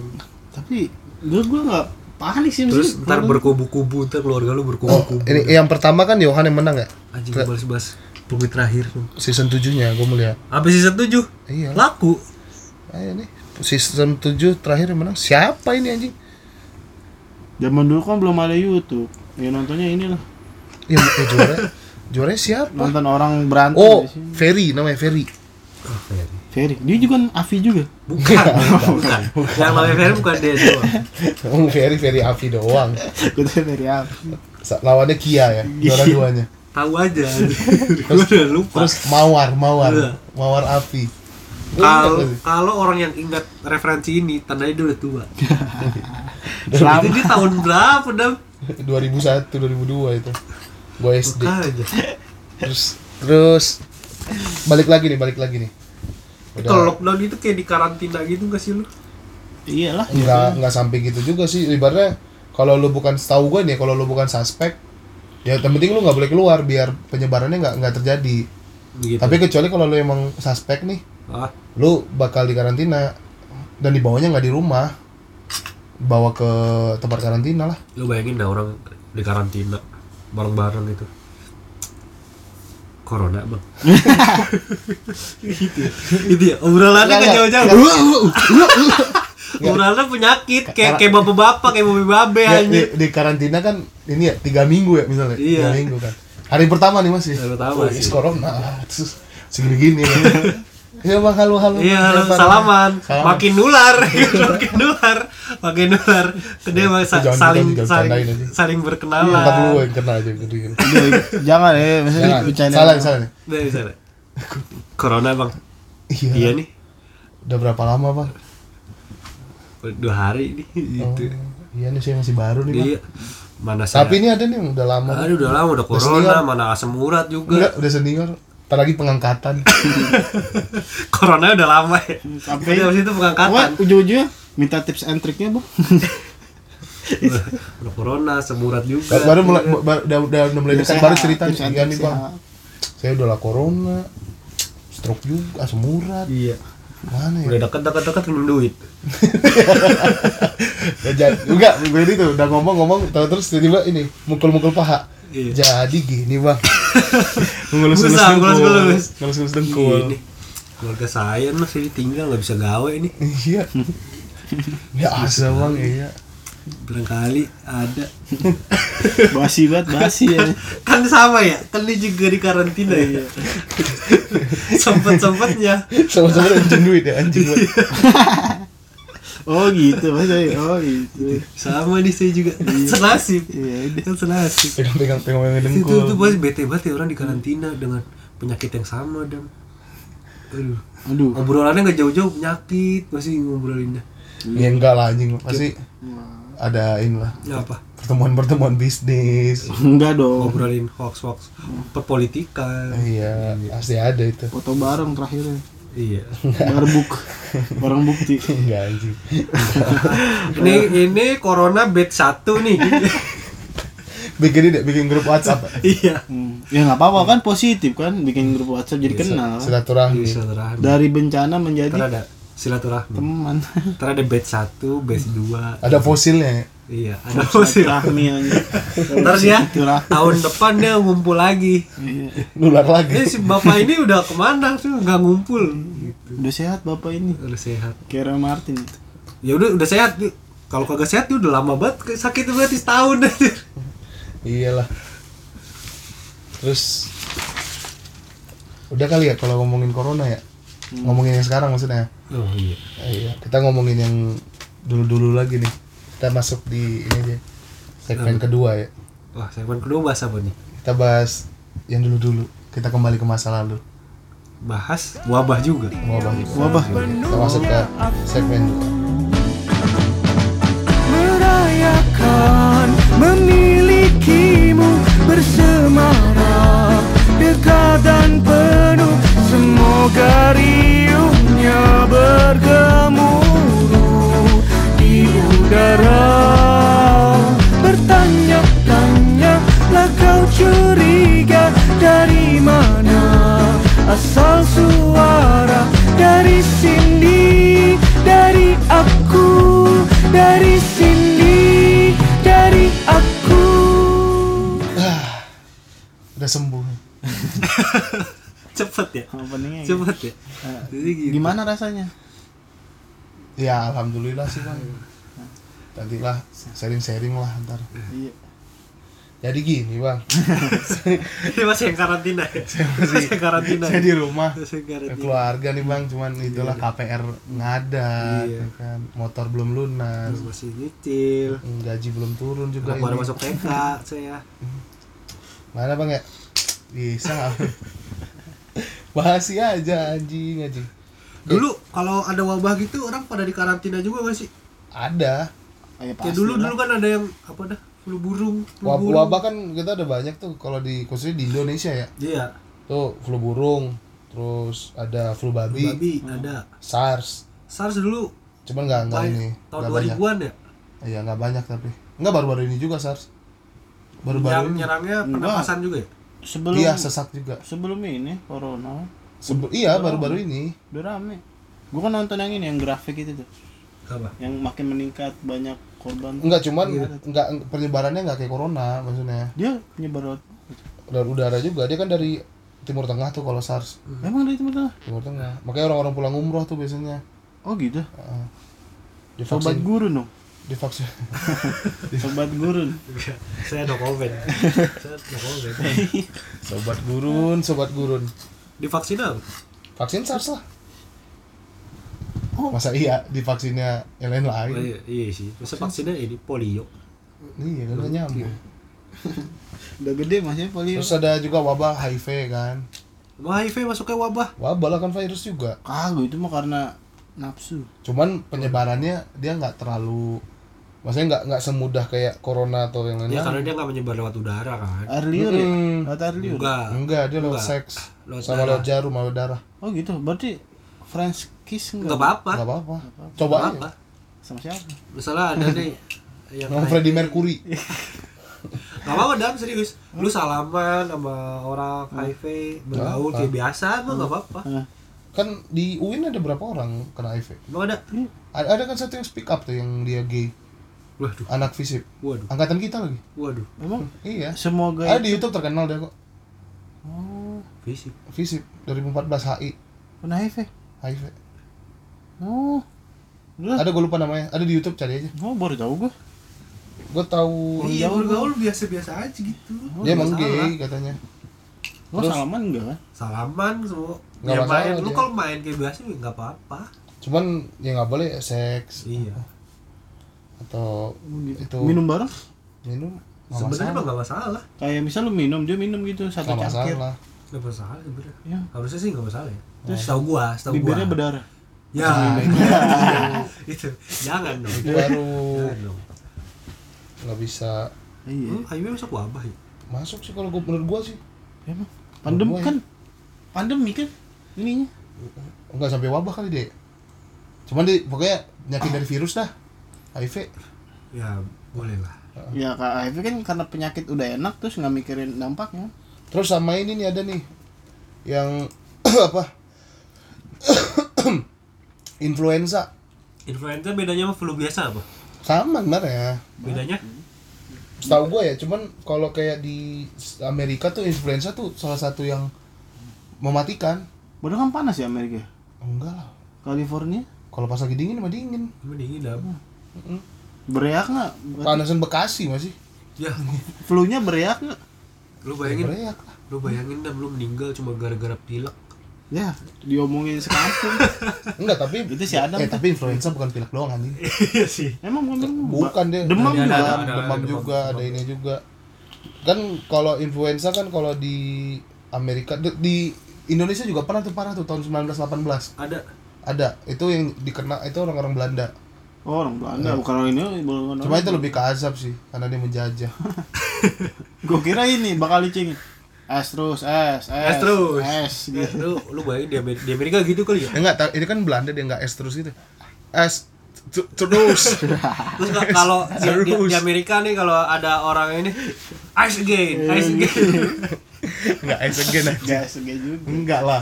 Speaker 4: tapi gue gue nggak panik sih
Speaker 1: terus
Speaker 4: maksudnya.
Speaker 1: ntar berkubu-kubu ntar keluarga
Speaker 3: Oh,
Speaker 1: lu berkubu-kubu
Speaker 3: ini yang pertama kan Johan yang menang ya?
Speaker 1: anjing balas-balas penghuni terakhir
Speaker 3: Season 7-nya gue melihat.
Speaker 1: habis season 7
Speaker 3: Iya.
Speaker 1: laku
Speaker 3: Ayo nih. Ah, Season 7 terakhir yang menang siapa ini anjing?
Speaker 4: zaman dulu kan belum ada YouTube ya nontonnya inilah
Speaker 3: Ya eh, juara. Juaranya siapa?
Speaker 4: nonton orang berantem
Speaker 3: Oh,
Speaker 4: di sini.
Speaker 3: Ferry namanya Ferry.
Speaker 4: Ferry dia juga Avi juga
Speaker 1: Bukan, bukan. Yang namanya Ferry bukan dia doang.
Speaker 3: Oh, Ferry Ferry Avi doang.
Speaker 4: gue tuh Ferry Avi
Speaker 3: Sa- Lawannya Kia ya, juara duanya.
Speaker 1: Tahu aja. Gue udah lupa.
Speaker 3: Terus Mawar, Mawar,
Speaker 1: Iya.
Speaker 3: Mawar Avi. Lu
Speaker 1: Kalau
Speaker 3: ingat
Speaker 1: kalau orang yang ingat referensi ini, tandanya dia udah tua. Itu
Speaker 4: selama
Speaker 1: dia tahun berapa dam?
Speaker 3: nggak? 2001, 2002 itu. Gua SD.
Speaker 1: Bukan aja.
Speaker 3: Terus terus balik lagi nih, balik lagi nih.
Speaker 1: Itu Kalau lockdown itu kayak di karantina gitu gak sih lu?
Speaker 4: iyalah
Speaker 3: nggak nggak sampai gitu juga sih ibaratnya kalau lu bukan tahu gue nih kalau lu bukan suspek ya yang penting lu nggak boleh keluar biar penyebarannya nggak nggak terjadi
Speaker 1: Gitu.
Speaker 3: tapi kecuali kalau lu emang suspek nih
Speaker 1: ah,
Speaker 3: lu bakal di karantina dan dibawanya nggak di rumah bawa ke tempat karantina lah
Speaker 1: lu bayangin dah orang di karantina bareng-bareng gitu. Corona bang. gitu. Itu ya. Obrolannya nggak jauh-jauh. Obrolannya penyakit kayak kayak bapak-bapak kayak babe-babe
Speaker 3: Ya,
Speaker 1: anjing.
Speaker 3: di, di karantina kan ini ya tiga minggu ya misalnya tiga
Speaker 1: Iya.
Speaker 3: minggu kan hari pertama nih masih
Speaker 1: Hari pertama
Speaker 3: Wih,
Speaker 1: sih.
Speaker 3: corona terus segini gini kan. ya bang halo halo
Speaker 1: Iya,
Speaker 3: Apa
Speaker 1: halo,
Speaker 3: kabar?
Speaker 1: salaman.
Speaker 3: Salaman.
Speaker 1: Makin nular, makin nular, makin nular. Kedua emang
Speaker 3: Iya,
Speaker 1: sa-
Speaker 3: jangan-
Speaker 1: saling
Speaker 3: jangan
Speaker 1: saling
Speaker 3: bercandain aja. Iya,
Speaker 1: saling
Speaker 3: Ntar dulu
Speaker 1: berkenalan.
Speaker 3: yang kena aja gitu. gitu.
Speaker 4: Aduh, jangan ya maksudnya
Speaker 3: Jangan.
Speaker 4: bercanda
Speaker 3: Salah, salah. nih.
Speaker 1: Dari sana. Iya, Corona bang,
Speaker 3: Iya.
Speaker 1: iya nih,
Speaker 3: Udah berapa lama, Bang?
Speaker 1: dua hari nih. Gitu.
Speaker 3: Oh, iya nih, saya masih baru nih, Bang.
Speaker 1: Iya. Mana saya?
Speaker 3: Tapi ini ada nih yang udah lama.
Speaker 1: Aduh udah lama udah
Speaker 3: senior.
Speaker 1: corona, mana asam urat juga.
Speaker 3: Enggak, udah senior. Ntar lagi pengangkatan.
Speaker 1: Corona udah lama ya.
Speaker 4: Sampai-
Speaker 1: Udah, abis itu
Speaker 4: Wah,
Speaker 1: pengangkatan.
Speaker 4: ujung-ujungnya minta tips and triknya bang
Speaker 1: Udah udah corona, semurat juga.
Speaker 3: baru mulai baru, udah, udah, udah mulai dekat baru cerita nih, iya nih, Bang.
Speaker 4: sehat.
Speaker 3: Saya udah lah corona. Stroke juga, asam urat.
Speaker 1: Iya.
Speaker 3: Mana ya?
Speaker 1: Udah dekat-dekat-dekat minum duit.
Speaker 3: Udah jadi. Enggak, gue ini tuh udah ngomong-ngomong tahu terus tiba-tiba ini mukul-mukul paha.
Speaker 1: Iya.
Speaker 3: Jadi gini, Bang.
Speaker 1: Ngulus-ngulus
Speaker 3: Ngulus-ngulus dengkul.
Speaker 1: ngulus-ngulus.
Speaker 3: Ngulus-ngulus dengkul.
Speaker 1: Iya, Ini keluarga saya masih ditinggal nggak bisa gawe ini.
Speaker 3: Iya. Ya asa bang iya.
Speaker 1: Barangkali ada.
Speaker 4: basi banget basi ya
Speaker 1: Kan sama ya, kan dia juga di karantina
Speaker 3: Iya.
Speaker 1: ya. Sempet-sempetnya.
Speaker 3: Sama-sama anjing duit ya anjing buat.
Speaker 4: oh gitu maksudnya oh gitu
Speaker 1: Sama nih saya juga. Senasib.
Speaker 4: Iya, udah.
Speaker 1: Kan senasib.
Speaker 3: Pegang-pegang pegang
Speaker 1: Itu
Speaker 3: dengkul.
Speaker 1: tuh pasti bete banget ya orang di karantina dengan penyakit yang sama dan Aduh.
Speaker 4: aduh
Speaker 1: Obrolannya nggak jauh-jauh penyakit, masih ngobrolinnya.
Speaker 3: Ya enggak lah anjing pasti ada ini lah
Speaker 1: Ya apa?
Speaker 3: pertemuan-pertemuan bisnis.
Speaker 4: enggak dong
Speaker 1: Ngobrolin hoax-hoax perpolitikan.
Speaker 3: Iya, pasti ada itu.
Speaker 4: foto bareng terakhirnya
Speaker 1: Iya.
Speaker 4: barbuk barang bukti
Speaker 3: Enggak Iya, anjing.
Speaker 1: Ini ini corona bed satu nih.
Speaker 3: Bikin ini bikin grup WhatsApp.
Speaker 1: iya.
Speaker 4: Hmm. ya nggak apa-apa kan positif kan bikin grup WhatsApp jadi kenal kan?
Speaker 1: Iya,
Speaker 3: Silaturahmi.
Speaker 1: silaturahmi.
Speaker 4: dari bencana
Speaker 1: Ntar
Speaker 4: menjadi
Speaker 1: ada silaturahmi.
Speaker 4: teman
Speaker 1: Ntar ada batch 1, batch 2.
Speaker 3: Ada fosilnya. ya.
Speaker 1: Iya, ada musim.
Speaker 4: Oh, rahmi aja
Speaker 1: Ntar dia
Speaker 4: Silaturahmi.
Speaker 1: tahun depan dia ngumpul lagi.
Speaker 4: Iya.
Speaker 3: Nular
Speaker 1: Ini
Speaker 3: lagi.
Speaker 1: si bapak ini udah kemana tuh nggak ngumpul. Gitu,
Speaker 4: udah sehat bapak ini
Speaker 1: Udah sehat.
Speaker 4: Kira Martin itu
Speaker 1: Ya udah udah sehat. Dik. Kalau kagak sehat dia udah lama banget sakit berarti setahun.
Speaker 3: Iyalah. Terus udah kali ya kalau ngomongin corona ya ngomongin yang sekarang maksudnya
Speaker 1: Oh iya.
Speaker 3: Eh, iya kita ngomongin yang dulu-dulu lagi nih kita masuk di ini aja segmen kedua ya
Speaker 1: Wah, segmen kedua bahas apa nih?
Speaker 3: kita bahas yang dulu-dulu kita kembali ke masa lalu
Speaker 1: Bahas wabah juga.
Speaker 3: mau bahas
Speaker 4: Wabah.
Speaker 3: kita masuk ke segmen dua
Speaker 6: merayakan memilikimu bersemarak dekat dan penuh semoga riuhnya bergemuruh di udara bertanya-tanya lah kau curiga dari mana asal suara dari sini dari aku dari sini dari aku
Speaker 3: Ah, udah sembuh
Speaker 1: Cepet ya.
Speaker 4: Openingnya gitu.
Speaker 1: Cepet ya. Jadi gitu.
Speaker 4: Gimana rasanya?
Speaker 3: ya alhamdulillah sih bang nantilah sharing-sharing lah ntar
Speaker 4: Iya.
Speaker 3: jadi gini bang
Speaker 1: Ini masih yang karantina ya.
Speaker 3: masih-
Speaker 1: Masih yang karantina.
Speaker 3: saya di rumah
Speaker 1: Masih yang
Speaker 3: Ya,
Speaker 1: karantina.
Speaker 3: keluarga nih bang cuman itulah KPR ngada ya
Speaker 1: Iya.
Speaker 3: kan motor belum lunas
Speaker 1: Masih nyicil.
Speaker 3: gaji belum turun juga
Speaker 1: Baru
Speaker 3: ini.
Speaker 1: masuk TK
Speaker 3: Iya.
Speaker 1: saya.
Speaker 3: mana bang ya bisa nggak bahasi aja anjing anjing
Speaker 1: Dulu kalau ada wabah gitu orang pada di karantina juga gak sih?
Speaker 3: ada
Speaker 4: Oh, ya,
Speaker 1: ya dulu
Speaker 4: pastilah.
Speaker 1: dulu kan ada yang apa dah flu burung, flu
Speaker 3: Eh, Wab-
Speaker 1: burung.
Speaker 3: wabah kan kita ada banyak tuh kalau di khususnya di Indonesia ya
Speaker 1: Iya,
Speaker 3: tuh flu burung terus ada flu
Speaker 1: flu
Speaker 3: babi,
Speaker 1: babi ada.
Speaker 3: SARS
Speaker 1: SARS dulu
Speaker 3: cuman nggak nggak Oh.
Speaker 1: lain-
Speaker 3: ini
Speaker 1: tahun
Speaker 3: nggak banyak
Speaker 1: 2000-an ya.
Speaker 3: iya nggak banyak tapi nggak baru-baru ini juga SARS
Speaker 1: yang
Speaker 3: baru-baru ini
Speaker 1: nyerangnya
Speaker 4: Enggak.
Speaker 1: pernapasan juga ya.
Speaker 4: sebelum
Speaker 3: iya sesak juga
Speaker 4: sebelum ini corona
Speaker 3: Sebe- iya baru-baru ini
Speaker 4: udah rame. Gua kan nonton yang ini yang grafik itu tuh,
Speaker 1: Apa?
Speaker 4: yang makin meningkat banyak korban.
Speaker 3: Enggak cuman
Speaker 4: Iya.
Speaker 3: enggak penyebarannya enggak kayak corona maksudnya.
Speaker 4: Dia penyebar lewat-
Speaker 3: Dari udara juga dia kan dari Timur Tengah tuh kalau SARS.
Speaker 4: Emang dari Timur Tengah?
Speaker 3: Timur Tengah. Makanya orang-orang pulang umroh tuh biasanya
Speaker 4: Oh gitu.
Speaker 3: Heeh.
Speaker 4: Sobat
Speaker 3: divaksin,
Speaker 4: gurun dong.
Speaker 3: divaksin.
Speaker 4: Sobat gurun.
Speaker 1: Saya no comment. Saya no comment.
Speaker 3: sobat gurun, sobat gurun.
Speaker 1: Divaksin apa?
Speaker 3: Vaksin SARS lah.
Speaker 4: Oh.
Speaker 3: Masa iya divaksinnya yang
Speaker 1: Oh,
Speaker 3: lain-lain?
Speaker 1: iya, iya sih. Masa vaksinnya ini polio.
Speaker 3: Iya, kan nggak nyambung.
Speaker 4: Udah gede masih polio.
Speaker 3: Terus ada juga wabah HIV kan.
Speaker 1: Wah, HIV masuknya wabah.
Speaker 3: Wabah lah kan virus juga.
Speaker 4: Kagak itu mah karena nafsu.
Speaker 3: Cuman penyebarannya dia nggak terlalu maksudnya nggak nggak semudah kayak corona atau yang
Speaker 4: Iya,
Speaker 3: lain-lain.
Speaker 1: Ya karena dia nggak menyebar lewat udara kan.
Speaker 4: Arliur ya?
Speaker 3: Mm.
Speaker 4: Lewat arliur.
Speaker 1: Enggak.
Speaker 3: Enggak, dia lewat
Speaker 1: Enggak.
Speaker 3: seks.
Speaker 1: Lewat
Speaker 3: sama
Speaker 1: darah.
Speaker 3: lewat jarum, lewat darah.
Speaker 4: Oh gitu. Berarti French kiss
Speaker 1: Enggak
Speaker 4: enggak?
Speaker 1: apa-apa.
Speaker 3: Enggak apa-apa.
Speaker 1: Enggak
Speaker 3: Coba
Speaker 1: apa-apa.
Speaker 3: aja.
Speaker 4: Sama siapa?
Speaker 1: Misalnya ada nih yang
Speaker 3: Sama Freddie Mercury.
Speaker 1: Gak apa-apa Dan, serius Lu salaman sama orang HIV Bergaul
Speaker 3: apa.
Speaker 1: kayak biasa mah gak apa-apa
Speaker 4: Hah.
Speaker 3: Kan di UIN ada berapa orang kena HIV?
Speaker 1: Emang ada?
Speaker 3: Ada, ada kan satu yang speak up tuh yang dia gay,
Speaker 1: Waduh,
Speaker 3: anak fisip.
Speaker 1: waduh,
Speaker 3: Angkatan kita lagi.
Speaker 1: waduh
Speaker 4: Emang Eh,
Speaker 3: Iya.
Speaker 4: semoga
Speaker 3: Ada di YouTube terkenal dia kok.
Speaker 4: Oh,
Speaker 1: Fisik
Speaker 3: Fisip 2014 HI.
Speaker 4: kena HIV.
Speaker 3: HIV.
Speaker 4: Oh. Udah.
Speaker 3: E. Ada gue lupa namanya. Ada di YouTube cari aja.
Speaker 4: Oh, baru tahu gua.
Speaker 3: Gue tahu
Speaker 1: Iya, bergaul biasa-biasa aja gitu
Speaker 3: dia Iya, emang
Speaker 1: Masalah.
Speaker 3: gay katanya.
Speaker 4: Lo
Speaker 3: Terus?
Speaker 4: salaman enggak kan?
Speaker 1: Salaman semua
Speaker 3: Nggak
Speaker 1: Ya
Speaker 3: masalah
Speaker 1: main, lu
Speaker 3: dia.
Speaker 1: kalau main kayak biasa ya gak apa-apa
Speaker 3: Cuman ya nggak boleh seks
Speaker 1: Iya
Speaker 3: atau itu
Speaker 4: Minum bareng?
Speaker 3: minum. nggak
Speaker 1: Sebenarnya mah
Speaker 3: masalah.
Speaker 1: gak masalah
Speaker 4: Kayak misal lu minum, dia minum gitu satu
Speaker 3: Nggak
Speaker 4: cangkir.
Speaker 3: masalah.
Speaker 1: Gak masalah sebenarnya
Speaker 4: Ya.
Speaker 1: Harusnya sih gak masalah ya
Speaker 3: Iya.
Speaker 1: Setau gua, setau gua
Speaker 4: Bibirnya berdarah.
Speaker 1: Ya, itu Jangan dong
Speaker 3: Itu baru
Speaker 1: Jangan dong
Speaker 3: nggak bisa
Speaker 4: Iya.
Speaker 1: Hmm, HIV masuk wabah ya?
Speaker 3: masuk sih kalau gue menurut gue sih
Speaker 4: Emang pandem
Speaker 3: Gua ya.
Speaker 4: kan pandemi kan ininya.
Speaker 3: nggak sampai wabah kali deh cuman deh pokoknya penyakit dari virus dah HIV
Speaker 1: Ya, boleh lah
Speaker 4: Ya Kak HIV kan karena penyakit udah enak terus nggak mikirin dampaknya.
Speaker 3: terus sama ini nih ada nih yang apa influenza
Speaker 1: Influenza bedanya sama flu biasa apa?
Speaker 3: sama gimana ya
Speaker 1: Bedanya?
Speaker 3: setahu gue ya cuman kalau kayak di Amerika tuh influenza tuh salah satu yang mematikan Oh,
Speaker 4: Padahal kan panas ya Amerika.
Speaker 3: enggak lah
Speaker 4: California
Speaker 3: kalau pas lagi dingin mah dingin
Speaker 1: Cuma dingin dah.
Speaker 4: bereak nggak? Berarti
Speaker 3: panasan Bekasi masih
Speaker 1: Ya,
Speaker 4: Flu-nya bereak nggak?
Speaker 1: lu bayangin
Speaker 3: Bereak.
Speaker 1: lu bayangin dam lu meninggal cuma gara-gara pilek
Speaker 4: Ya, diomongin sekampung.
Speaker 3: Enggak, tapi
Speaker 4: Itu si Adam
Speaker 3: Eh,
Speaker 4: tuh.
Speaker 3: tapi influenza bukan pilek doang anjing.
Speaker 1: iya sih
Speaker 4: Emang bukan demam?
Speaker 3: Bukan deh.
Speaker 4: Demam
Speaker 1: Ada-
Speaker 4: juga.
Speaker 1: ada- ada.
Speaker 3: demam juga, ada ini juga. Kan kalau influenza kan kalau di Amerika di- di Indonesia juga pernah tuh parah tuh tahun 1918.
Speaker 1: ada
Speaker 3: Ada. Itu yang dikena itu orang-orang Belanda.
Speaker 4: Oh, orang Belanda. Bukan orang ini. bukan
Speaker 3: Cuma
Speaker 4: orang.
Speaker 3: itu lebih ke azab sih karena dia menjajah.
Speaker 4: Gua kira ini bakal licin. Es terus, es, es,
Speaker 1: es terus Eh,
Speaker 4: es, gitu.
Speaker 1: lu lu bayangin di Amerika, di Amerika gitu kali ya
Speaker 3: Ya enggak, ta- ini kan Belanda dia enggak es terus gitu. Es t- terus.
Speaker 1: terus ka- kalau di, di, di Amerika nih kalau ada orang ini ice again ice
Speaker 3: Iya.
Speaker 1: again
Speaker 3: Enggak es again aja.
Speaker 4: Gas kayak juga.
Speaker 3: Enggak lah.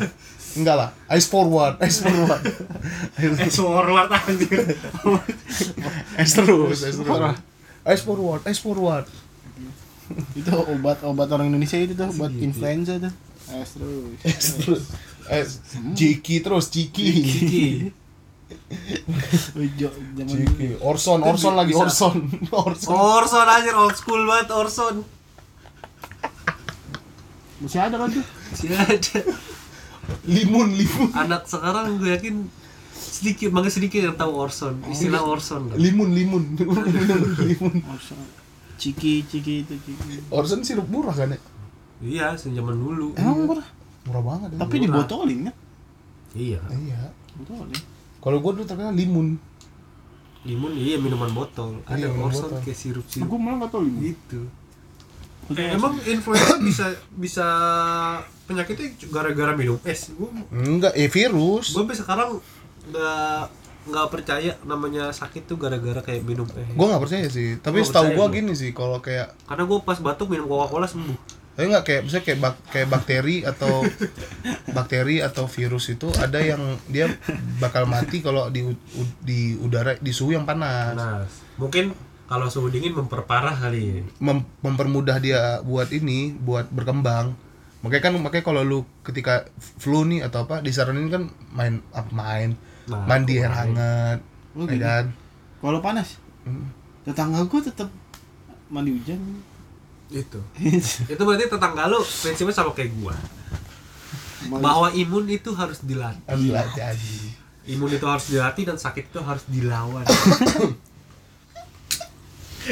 Speaker 3: Enggak lah. Ice forward, ice forward. Eh,
Speaker 1: es forward anjir
Speaker 3: es terus, es terus. Ice forward, ice forward.
Speaker 4: Itu obat-obat orang Indonesia itu tuh buat influenza tuh. Es terus.
Speaker 3: Es terus. Es Jiki terus, Jiki.
Speaker 1: Gigi.
Speaker 4: Ujo zaman dulu.
Speaker 3: Jiki. Orson, Orson lagi Orson. Orson.
Speaker 1: Orson anjir old school banget Orson
Speaker 4: Masih ada kan tuh?
Speaker 1: Masih ada
Speaker 3: Limun, limun.
Speaker 1: anak sekarang gue yakin sedikit makanya sedikit yang tahu Orson
Speaker 3: Oh,
Speaker 1: istilah
Speaker 3: iya.
Speaker 1: Orson
Speaker 3: Limun, limun. limun.
Speaker 4: Masa Ciki, ciki itu ciki.
Speaker 3: Orson sirup murah kan ya?
Speaker 1: iya sejak zaman dulu
Speaker 3: Iya.
Speaker 4: Emang murah,
Speaker 3: Murah banget ya.
Speaker 4: tapi
Speaker 1: Murah.
Speaker 4: dibotolin ya.
Speaker 1: iya
Speaker 3: Iya.
Speaker 4: Botolin.
Speaker 3: Kalau gua dulu terkenal limun.
Speaker 1: limun iya minuman botol ada
Speaker 3: Iya, minuman
Speaker 1: Orson
Speaker 3: botol.
Speaker 1: kayak sirup sirup
Speaker 4: Gue Nah, malah enggak tahu ini.
Speaker 1: gitu Eh, emang influenza bisa bisa penyakitnya gara-gara minum es gue
Speaker 3: Enggak, eh virus.
Speaker 1: gue sekarang nggak nggak percaya namanya sakit tuh gara-gara kayak minum es
Speaker 3: Gua nggak percaya sih, tapi
Speaker 1: Gua
Speaker 3: setahu
Speaker 1: percaya
Speaker 3: gua
Speaker 1: gua.
Speaker 3: gini sih kalau kayak
Speaker 1: karena gue pas batuk minum coca cola sembuh
Speaker 3: tapi nggak kayak misalnya kayak bak- kayak bakteri atau bakteri atau virus itu ada yang dia bakal mati kalau di u- u- di udara di suhu yang panas
Speaker 1: nah mungkin kalau suhu dingin memperparah kali ya.
Speaker 3: Mem- mempermudah dia buat ini buat berkembang makanya kan makanya kalau lu ketika flu nih atau apa disaranin kan main apa main
Speaker 1: Nah,
Speaker 3: mandi air
Speaker 1: kemarin.
Speaker 3: hangat
Speaker 4: Oh,
Speaker 3: ya
Speaker 4: gitu.
Speaker 3: kan
Speaker 4: Kalau panas,
Speaker 3: Hmm.
Speaker 4: tetangga gue tetap mandi hujan.
Speaker 1: itu itu berarti tetangga lu prinsipnya sama kayak gua bahwa imun itu harus dilatih
Speaker 3: ambil aja Kan aja.
Speaker 1: imun itu harus dilatih dan sakit itu harus dilawan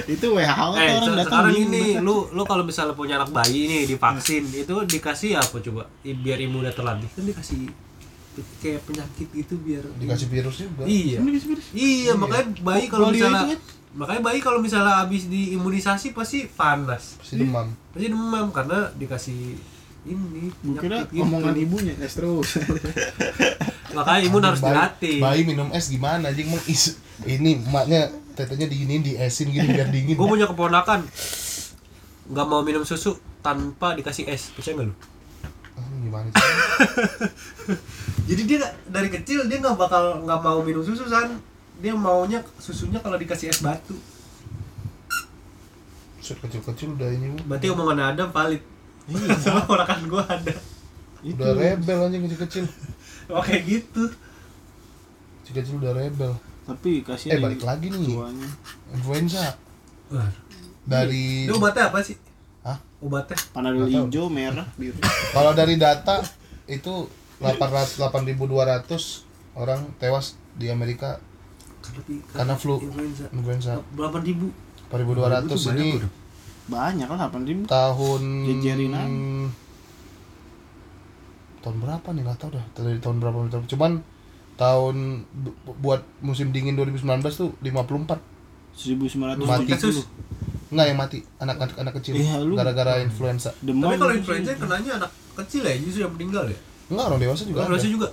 Speaker 4: itu WHO tuh
Speaker 1: eh se-
Speaker 4: orang datang
Speaker 1: sekarang
Speaker 4: bingung,
Speaker 1: ini
Speaker 4: betul.
Speaker 1: lu lu kalau misalnya punya anak bayi nih divaksin itu dikasih apa coba I- biar imunnya terlatih kan dikasih pe- kayak penyakit gitu biar
Speaker 3: dikasih virus juga
Speaker 1: iya
Speaker 4: Ini gini-gini.
Speaker 1: iya makanya bayi
Speaker 4: Polio
Speaker 1: kalau
Speaker 4: itu
Speaker 1: misalnya
Speaker 4: kan?
Speaker 1: makanya bayi kalau misalnya habis diimunisasi pasti panas
Speaker 3: pasti demam
Speaker 1: pasti demam karena dikasih ini
Speaker 4: Gua kira
Speaker 1: penyakit gitu.
Speaker 4: omongan ibunya es terus.
Speaker 1: makanya imun harus
Speaker 3: Bayi-
Speaker 1: dilatih
Speaker 3: Bayi minum es gimana anjing mau is ini emaknya tetenya diginiin diesin gini biar dingin.
Speaker 1: gue punya keponakan nggak mau minum susu tanpa dikasih es percaya nggak lu
Speaker 3: Ah, gimana sih?
Speaker 1: jadi dia nggak- dari kecil dia nggak bakal nggak mau minum susu san dia maunya susunya kalau dikasih es batu
Speaker 3: Set kecil-kecil udah ini Bu.
Speaker 1: berarti omongan Adam valid sama keponakan gue ada
Speaker 3: udah rebel anjing kecil-kecil.
Speaker 1: oh kayak gitu
Speaker 3: Kecil-kecil udah rebel.
Speaker 4: Tapi kasih
Speaker 3: Eh balik lagi nih
Speaker 4: tuanya.
Speaker 3: influenza dari
Speaker 1: ini obatnya apa sih
Speaker 3: Iya. Hah?
Speaker 1: obatnya
Speaker 4: Panadol
Speaker 3: Nggak tahu.
Speaker 4: hijau, merah, biru.
Speaker 3: kalau dari data itu 800 8.200 orang tewas di Amerika karena flu
Speaker 1: influenza
Speaker 3: influenza
Speaker 1: delapan ribu
Speaker 3: 8.200 ini
Speaker 4: Banyak kan 8 ribu.
Speaker 3: tahun
Speaker 4: Jejerin aja.
Speaker 3: tahun berapa nih nggak tahu dah dari tahun berapa dari tahun cuman tahun bu- bu- buat musim dingin 2019 tuh 54 Mati.
Speaker 4: 1970.
Speaker 3: nggak yang mati anak-anak anak kecil
Speaker 4: Iya, lu-
Speaker 3: gara-gara influenza
Speaker 4: Demam.
Speaker 1: tapi kalau influenza yang kenanya anak kecil ya justru yang meninggal ya
Speaker 3: nggak orang dewasa juga ada.
Speaker 1: influenza juga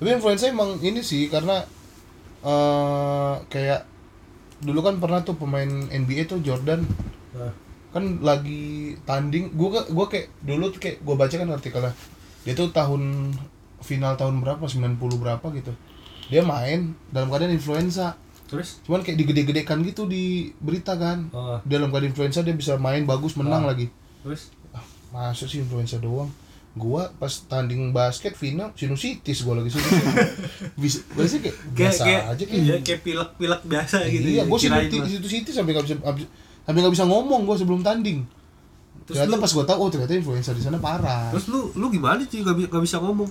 Speaker 3: tapi influenza emang ini sih karena eh kayak dulu kan pernah tuh pemain NBA tuh Jordan kan lagi tanding gua ke- gua kayak dulu tuh kayak gua baca kan artikelnya dia tuh tahun final tahun berapa 90 berapa gitu dia main dalam keadaan influenza
Speaker 1: terus
Speaker 3: cuman kayak digede-gedekan gitu di berita kan
Speaker 1: Ah.
Speaker 3: dalam keadaan influenza dia bisa main bagus menang lagi
Speaker 1: terus
Speaker 3: ah, masa sih influenza doang gua pas tanding basket final sinusitis gua lagi sinusitis bisa gua sih kayak biasa aja kayak gitu.
Speaker 1: iya, kayak pilek-pilek biasa gitu
Speaker 3: iya
Speaker 1: ya,
Speaker 3: gue
Speaker 1: kirain
Speaker 3: sinusitis
Speaker 1: mah.
Speaker 3: sinusitis sampai nggak bisa abis- sampai nggak bisa ngomong gua sebelum tanding
Speaker 1: Terus
Speaker 3: ternyata
Speaker 1: lu-
Speaker 3: pas gue tahu oh ternyata influencer di sana parah
Speaker 1: Terus lu lu gimana sih gak, bi- gak bisa ngomong?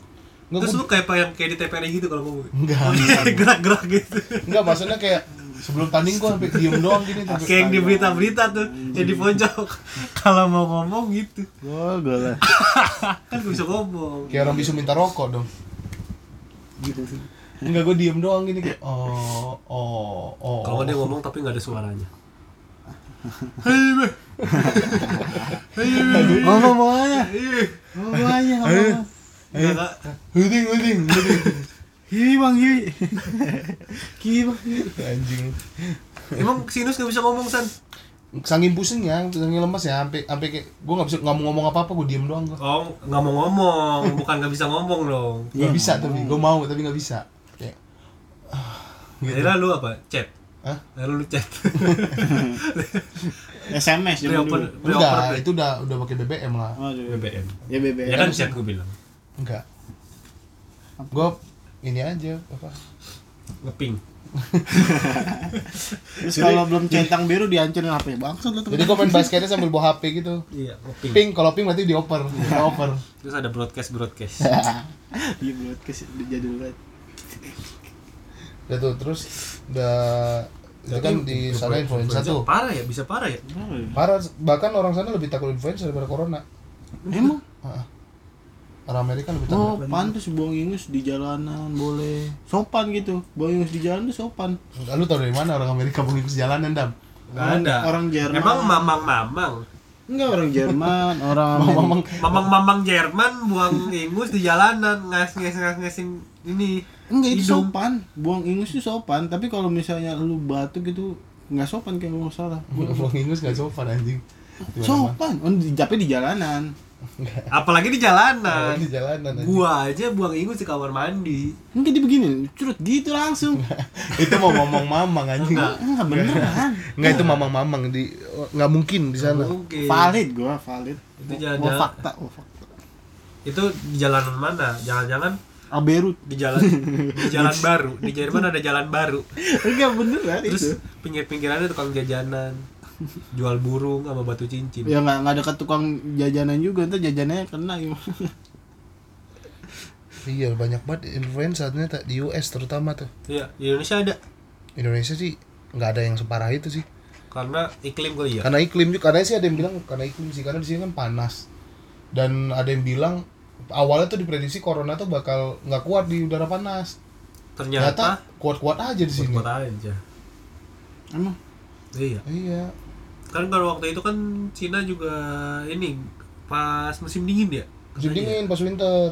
Speaker 3: Nggak,
Speaker 1: Terus
Speaker 3: gua-
Speaker 1: lu kayak yang kayak di TPRI gitu kalau ngomong.
Speaker 3: Nggak,
Speaker 1: Oh, iya, Gerak-gerak gitu.
Speaker 3: enggak maksudnya kayak sebelum tanding gue sampai diem doang gini sampai-
Speaker 1: Kayak yang di berita-berita tuh, yang di pojok. kalau mau ngomong gitu.
Speaker 4: Gol, gol lah.
Speaker 1: Kan gak bisa ngomong.
Speaker 3: kayak orang bisu minta rokok dong
Speaker 4: Gitu
Speaker 3: enggak gue diem doang gini kayak oh oh oh
Speaker 1: Kalau dia ngomong tapi gak ada suaranya. Hei, beh. Hei, beh.
Speaker 4: Ngomong mau aja.
Speaker 1: Ih,
Speaker 4: Ngomong aja, ngomong.
Speaker 1: nggak, Iya. nggak.
Speaker 3: huding huding huding
Speaker 4: Hiwi bang, hiwi. Hiwi bang, hiwi.
Speaker 3: anjing
Speaker 1: Emang sinus gak bisa ngomong san?
Speaker 3: sangin pusing ya sangin lemas ya sampai sampai kayak gue nggak bisa nggak mau ngomong apa apa gue diem doang gue
Speaker 1: Oh, nggak mau ngomong, bukan nggak bisa ngomong dong.
Speaker 3: nggak bisa tapi gue mau tapi nggak bisa kayak
Speaker 1: Akhirnya lu apa? Chat.
Speaker 3: Hah?
Speaker 1: Akhirnya lu chat.
Speaker 4: SMS
Speaker 1: Beli
Speaker 4: zaman
Speaker 1: open,
Speaker 4: dulu.
Speaker 1: beli open
Speaker 3: udah
Speaker 1: play.
Speaker 3: itu udah udah pakai BBM lah
Speaker 4: Aduh.
Speaker 1: BBM.
Speaker 4: Ya BBM.
Speaker 1: Iya, Ya kan chat gue bilang.
Speaker 3: enggak gue ini aja apa
Speaker 1: Ngeping.
Speaker 4: Terus kalau belum centang biru dihancurin HP bangsat lu
Speaker 3: jadi
Speaker 4: temen.
Speaker 3: gue main basketnya sambil bawa HP gitu
Speaker 1: Iya, ngeping.
Speaker 3: ping kalau ping berarti dioper dioper
Speaker 1: Terus ada broadcast broadcast.
Speaker 4: Iya buat kes jadul banget.
Speaker 3: udah tuh terus udah itu
Speaker 1: Ya
Speaker 3: kan di sana influencer tuh
Speaker 1: Parah ya, bisa parah ya.
Speaker 4: Kenapa ya?
Speaker 3: parah bahkan orang sana lebih takut influencer daripada corona
Speaker 4: Emang
Speaker 3: Heeh. orang Amerika lebih takut
Speaker 4: Oh, pantas buang ingus di jalanan boleh. Sopan gitu. Buang ingus di jalan tuh sopan.
Speaker 3: Lalu tau dari mana orang Amerika pengikut jalanan dam?
Speaker 1: Nggak ada.
Speaker 4: Orang Jerman.
Speaker 1: Emang mamang-mamang.
Speaker 4: Enggak orang Jerman, orang
Speaker 3: Mamang
Speaker 1: Mamang-mamang Jerman buang ingus di jalanan, ngas-ngas-ngas-ngasin ini.
Speaker 4: Enggak itu
Speaker 1: hidung.
Speaker 4: sopan. Buang ingus itu sopan, tapi kalau misalnya lu batuk gitu nggak sopan kayak lu salah.
Speaker 3: Orang Inggris gak sopan anjing Di mana-mana.
Speaker 4: Sopan. Oh, di, tapi di jalanan.
Speaker 1: Apalagi di
Speaker 3: Orang
Speaker 1: jalanan.
Speaker 3: Di jalanan anjing.
Speaker 1: Gua aja buang ingus di kamar mandi.
Speaker 4: Enggak di begini, curut gitu langsung.
Speaker 3: Itu mau mamang mamang anjing
Speaker 1: Enggak.
Speaker 4: Enggak beneran.
Speaker 3: Enggak itu mamang mamang di nggak mungkin di sana
Speaker 1: Mungkin.
Speaker 4: Valid gua, valid.
Speaker 1: Itu jalan-
Speaker 4: Gua
Speaker 1: jalan-
Speaker 4: fakta, gua fakta.
Speaker 1: Itu di jalanan mana? Jangan-jangan
Speaker 4: Ah, Beirut.
Speaker 1: di jalan di jalan baru. Di Jerman ada jalan baru.
Speaker 4: Iya. Enggak
Speaker 1: kan?
Speaker 4: beneran itu.
Speaker 1: Terus pinggir-pinggirannya tukang jajanan. Jual burung sama batu cincin.
Speaker 4: Ya nggak nggak dekat tukang jajanan juga, ntar jajanannya kena gitu. gimana.
Speaker 3: Iya banyak banget influencer ternyata di US terutama tuh
Speaker 1: Iya, di Indonesia ada
Speaker 3: Indonesia sih nggak ada yang separah itu sih
Speaker 1: karena iklim kali ya.
Speaker 3: karena iklim juga karena sih ada yang bilang karena iklim sih karena di sini kan panas dan ada yang bilang awalnya tuh diprediksi corona tuh bakal nggak kuat di udara panas
Speaker 1: Ternyata
Speaker 3: ternyata kuat-kuat aja di sini
Speaker 1: kota aja.
Speaker 4: Emang
Speaker 1: Iya.
Speaker 3: iya
Speaker 1: Kan kalau waktu itu kan Cina juga ini pas musim dingin ya.
Speaker 3: musim
Speaker 1: katanya.
Speaker 3: dingin pas winter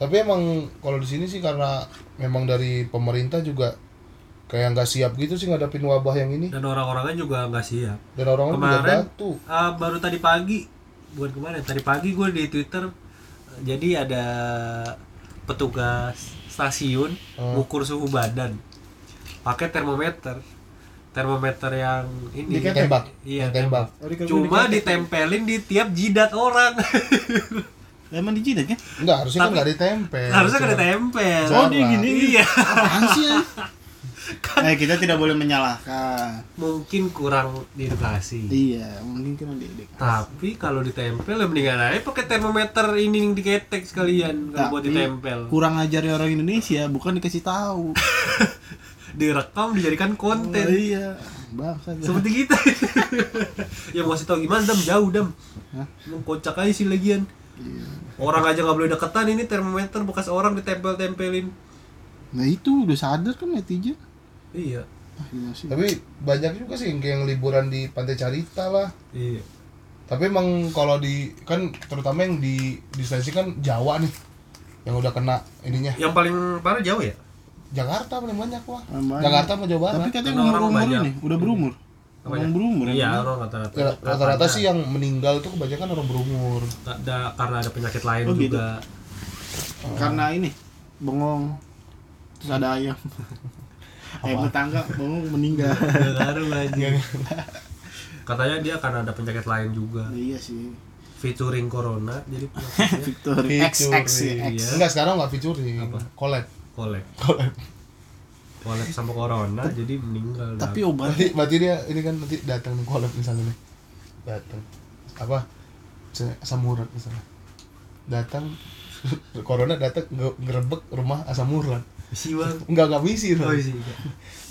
Speaker 3: tapi emang kalau di sini sih karena memang dari pemerintah juga kayak nggak siap gitu sih ngadapin wabah yang ini
Speaker 1: Dan orang-orangnya juga nggak siap.
Speaker 3: dan orang-orang juga
Speaker 1: Kemarin-
Speaker 3: batu
Speaker 1: Ah, baru tadi pagi, bukan kemarin, tadi pagi gue di Twitter eh, jadi ada petugas stasiun
Speaker 3: Hmm.
Speaker 1: ngukur suhu badan pakai termometer. Termometer yang ini
Speaker 3: Yang tembak yang
Speaker 1: Iya,
Speaker 3: tembak
Speaker 1: Cuma ditempelin di tiap jidat orang.
Speaker 4: emang di Cina kan?
Speaker 3: enggak harusnya kan
Speaker 1: Tapi-
Speaker 3: nggak ditempel
Speaker 1: Harusnya
Speaker 3: Cuma-
Speaker 1: kena tempel.
Speaker 3: Oh, dia gini.
Speaker 1: Iya.
Speaker 4: Apaan sih? ya? Eh kita tidak boleh menyalahkan.
Speaker 1: Mungkin kurang diedukasi.
Speaker 4: Iya, mungkin kena didik.
Speaker 1: Tapi kalau ditempel ya mendingan aja pakai termometer ini yang diketek sekalian kalau buat
Speaker 4: Tapi
Speaker 1: ditempel.
Speaker 4: Kurang ajar orang Indonesia, bukan dikasih tahu.
Speaker 1: Direkam dijadikan
Speaker 4: Oh,
Speaker 1: konten.
Speaker 4: iya, bangsa.
Speaker 1: Seperti kita. ya mau kasih tau gimana dam jauh dam.
Speaker 4: Hah? Iya.
Speaker 1: Emang kocak aja sih lagian. Orang aja nggak boleh deketan ini termometer bekas orang ditempel-tempelin.
Speaker 4: Nah itu udah sadar kan netizen.
Speaker 1: Iya.
Speaker 4: Ah, gimana sih?
Speaker 3: tapi banyak juga sih yang- yang liburan di pantai Carita lah
Speaker 1: Iya.
Speaker 3: tapi emang kalau di kan terutama yang di di Sulawesi kan Jawa nih yang udah kena ininya
Speaker 1: Yang paling parah jauh ya?
Speaker 3: Jakarta paling banyak wah
Speaker 4: Paling banyak.
Speaker 3: Jakarta sama Jawa Barat
Speaker 4: Tapi katanya
Speaker 1: Orang
Speaker 4: umur umur
Speaker 1: banyak.
Speaker 4: ini udah berumur.
Speaker 1: Apa
Speaker 4: Orang
Speaker 1: ya?
Speaker 4: berumur
Speaker 1: Iya,
Speaker 4: emang.
Speaker 1: orang rata-rata.
Speaker 3: Ya, rata-rata sih yang meninggal tuh kebanyakan orang berumur
Speaker 1: ada karena ada penyakit lain
Speaker 4: Oh, gitu.
Speaker 1: juga.
Speaker 4: Karena ini bengong terus ada ayam. ayam tetangga bengong meninggal.
Speaker 1: Gak ngaruh aja. Katanya dia karena ada penyakit lain juga.
Speaker 4: Nah, iya sih.
Speaker 1: Featuring corona jadi penyakitnya
Speaker 4: Victor X X ya,
Speaker 1: iya.
Speaker 3: Featuring.
Speaker 4: X.
Speaker 3: enggak sekarang nggak featuring
Speaker 1: Apa?
Speaker 3: collab
Speaker 1: collab.
Speaker 3: collab
Speaker 1: Collab sama corona jadi meninggal. dah.
Speaker 4: Tapi obatnya
Speaker 3: berarti berarti dia ini kan nanti datang nih collab misalnya nih datang apa misalnya asam urat misalnya datang corona datang nge- ngerebek rumah asam urat
Speaker 1: Misi bang.
Speaker 3: nggak nggak misi
Speaker 1: Oh
Speaker 3: Bang.
Speaker 1: isi.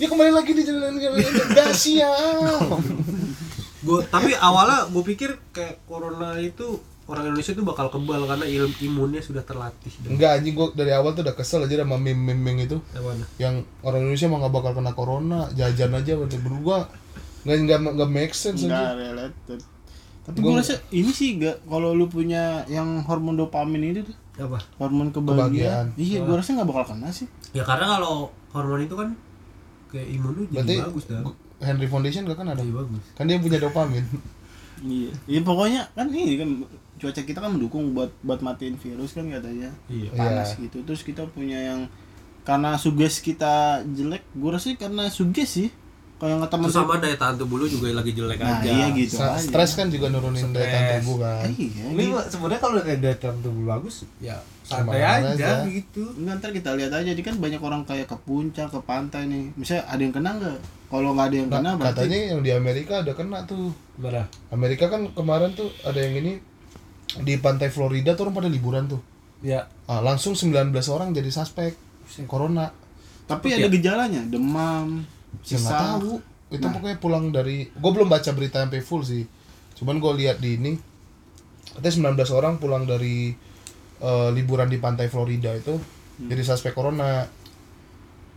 Speaker 3: ya kembali lagi di jalan Dasia
Speaker 1: Gua tapi awalnya gue pikir kayak corona itu orang Indonesia itu bakal kebal karena il- imunnya sudah terlatih. Dan
Speaker 3: enggak anjing gua dari awal tuh udah kesel aja sama meme-meme itu
Speaker 1: Gimana?
Speaker 3: yang orang Indonesia mah nggak bakal kena corona jajan aja berarti menurut gua nggak nggak nggak make
Speaker 1: kan,
Speaker 3: sense
Speaker 4: nggak
Speaker 3: aja
Speaker 4: related tapi
Speaker 3: Gua-
Speaker 4: gue rasa ini sih gak kalau lu punya yang hormon dopamin itu tuh
Speaker 1: Apa?
Speaker 4: hormon kebahagiaan
Speaker 3: Kebahagiaan.
Speaker 4: iya gue rasa nggak bakal kena sih
Speaker 1: Ya karena kalau hormon itu kan kayak imun lu jadi
Speaker 3: berarti
Speaker 1: bagus dah.
Speaker 3: gu- Henry Foundation gak kan ada
Speaker 1: Jadi bagus.
Speaker 3: kan dia punya dopamin
Speaker 4: iya iya pokoknya kan ini kan cuaca kita kan mendukung buat buat matiin virus kan katanya
Speaker 1: Iya.
Speaker 4: panas gitu terus kita punya yang karena suges kita jelek gue rasa karena suges sih kalau yang kata
Speaker 1: Terus
Speaker 4: teman
Speaker 1: sama daya tahan tubuh lu juga lagi jelek
Speaker 4: Iya. nah
Speaker 1: aja.
Speaker 4: iya gitu
Speaker 3: Sa-
Speaker 4: aja.
Speaker 3: stres kan juga nurunin daya tahan
Speaker 1: Stres.
Speaker 3: tubuh kan
Speaker 4: iya
Speaker 7: Ini
Speaker 4: gitu.
Speaker 7: mah sebenarnya kalau udah ada dalam tubuh bagus, ya santai
Speaker 3: Kemana-mana
Speaker 7: aja
Speaker 3: aja.
Speaker 7: gitu.
Speaker 4: Nggak, ntar kita lihat aja jadi kan banyak orang kayak ke puncak ke pantai nih misalnya ada yang kena nggak kalau nggak ada yang
Speaker 3: Nah,
Speaker 4: kena berarti
Speaker 3: katanya yang di Amerika ada kena tuh
Speaker 1: Gimana?
Speaker 3: Amerika kan kemarin tuh ada yang ini di pantai Florida tuh orang pada liburan tuh
Speaker 1: Ya.
Speaker 3: Ah, langsung 19 orang jadi suspek corona
Speaker 4: tapi ada gejalanya demam
Speaker 3: Ya nggak
Speaker 4: sesak
Speaker 3: tahu. Itu
Speaker 1: Nah.
Speaker 3: pokoknya pulang dari gue belum baca berita sampai full sih. Cuman gue lihat di ini katanya 19 orang pulang dari eh, liburan di pantai Florida itu
Speaker 1: Hmm.
Speaker 3: jadi suspek corona.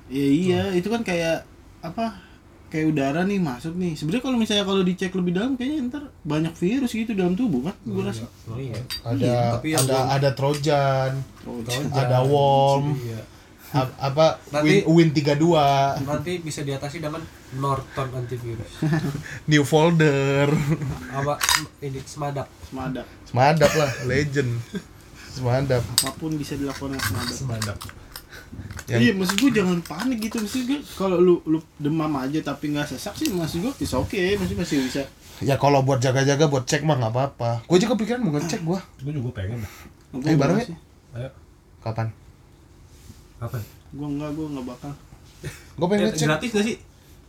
Speaker 4: ya iya itu kan kayak apa kayak udara nih masuk nih sebenarnya kalau misalnya kalau dicek lebih dalam kayaknya ntar banyak virus gitu dalam tubuh kan gue rasa
Speaker 7: ya.
Speaker 1: Oh iya.
Speaker 3: Ada
Speaker 1: tapi yang
Speaker 3: ada
Speaker 1: gua-
Speaker 3: ada Trojan,
Speaker 4: Oh,
Speaker 3: ada worm,
Speaker 1: Iya.
Speaker 3: ap- apa
Speaker 1: Nanti-
Speaker 3: Win, Win 32,
Speaker 1: Nanti bisa diatasi dengan Norton antivirus.
Speaker 3: New Folder.
Speaker 1: Apa ini semadap.
Speaker 4: semada
Speaker 3: Semadap lah, legend. Semadap.
Speaker 4: apapun bisa dilakukan sama ada.
Speaker 1: Semadap.
Speaker 3: Yang-
Speaker 4: Iya, maksud gue jangan panik gitu maksud gue kalau lu lu demam aja tapi nggak sesak sih maksud gue is oke maksud masih bisa.
Speaker 3: Ya kalau buat jaga-jaga buat cek mah nggak apa-apa. Gue juga pikiran mau ngecek gue.
Speaker 1: Gue juga pengen.
Speaker 4: Gue
Speaker 3: Eh, bareng
Speaker 4: nggak
Speaker 3: ya?
Speaker 4: sih.
Speaker 1: Ayo.
Speaker 3: Kapan?
Speaker 1: Apa?
Speaker 4: Gue enggak, gue enggak bakal.
Speaker 3: Gue pengen ngecek.
Speaker 1: Eh, gratis gak sih?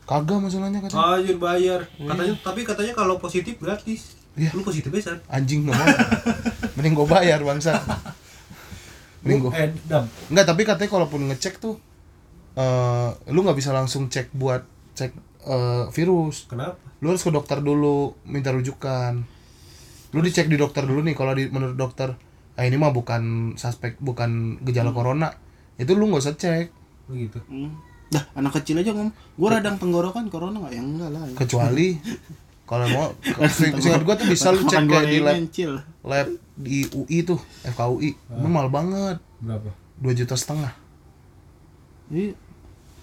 Speaker 3: Kagak masalahnya katanya.
Speaker 1: Anjir bayar.
Speaker 7: Iya.
Speaker 1: Katanya tapi katanya kalau positif gratis.
Speaker 3: Iya.
Speaker 1: Lu positifnya san.
Speaker 3: anjing nggak mau mending gue bayar bangsa mending gue
Speaker 1: Eh, dam.
Speaker 3: nggak tapi katanya kalaupun ngecek tuh eh lu nggak bisa langsung cek buat cek eh, virus
Speaker 1: Kenapa?
Speaker 3: lu harus ke dokter dulu minta rujukan lu dicek di dokter dulu nih kalau di menurut dokter ah ini mah bukan suspek bukan gejala corona itu lu nggak usah cek
Speaker 1: Begitu.
Speaker 4: Hmm. Dah, anak kecil aja ngomong, gue radang tenggorokan corona nggak? Ya enggak lah. Ya.
Speaker 3: kecuali kalau mau sing- singkat gue tuh bisa lu
Speaker 4: Makan
Speaker 3: cek kayak di
Speaker 4: gorengan,
Speaker 3: lab
Speaker 4: Cil.
Speaker 3: lab di UI tuh FKUI Emang mahal banget
Speaker 1: Berapa?
Speaker 3: dua juta setengah Iya.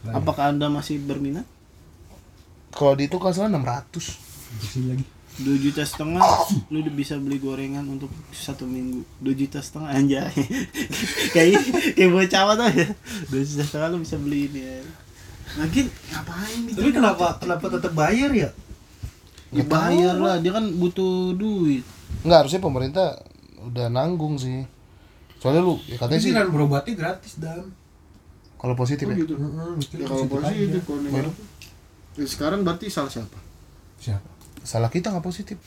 Speaker 4: Jadi, apakah anda masih berminat?
Speaker 3: kalau di itu kalau salah 600
Speaker 1: Pusing lagi.
Speaker 4: 2 juta setengah, lu udah bisa beli gorengan untuk satu minggu. 2 juta setengah anjay. kayak kayak bocah apa tuh ya. 2 juta setengah lu bisa beli ini. Ya. Lagi ngapain nih?
Speaker 7: Tapi kenapa kenapa tetap bayar ya?
Speaker 4: Dibayar Ya lah, dia kan butuh duit.
Speaker 3: nggak harusnya pemerintah udah nanggung sih soalnya lu ya katanya sih
Speaker 1: Pikiran kan berobatnya gratis dam.
Speaker 3: kalau positif ya
Speaker 1: Heeh, mikir
Speaker 8: Ya kalau positif kalau negatif. Ya, sekarang berarti salah siapa?
Speaker 1: Siapa?
Speaker 3: salah kita nggak positif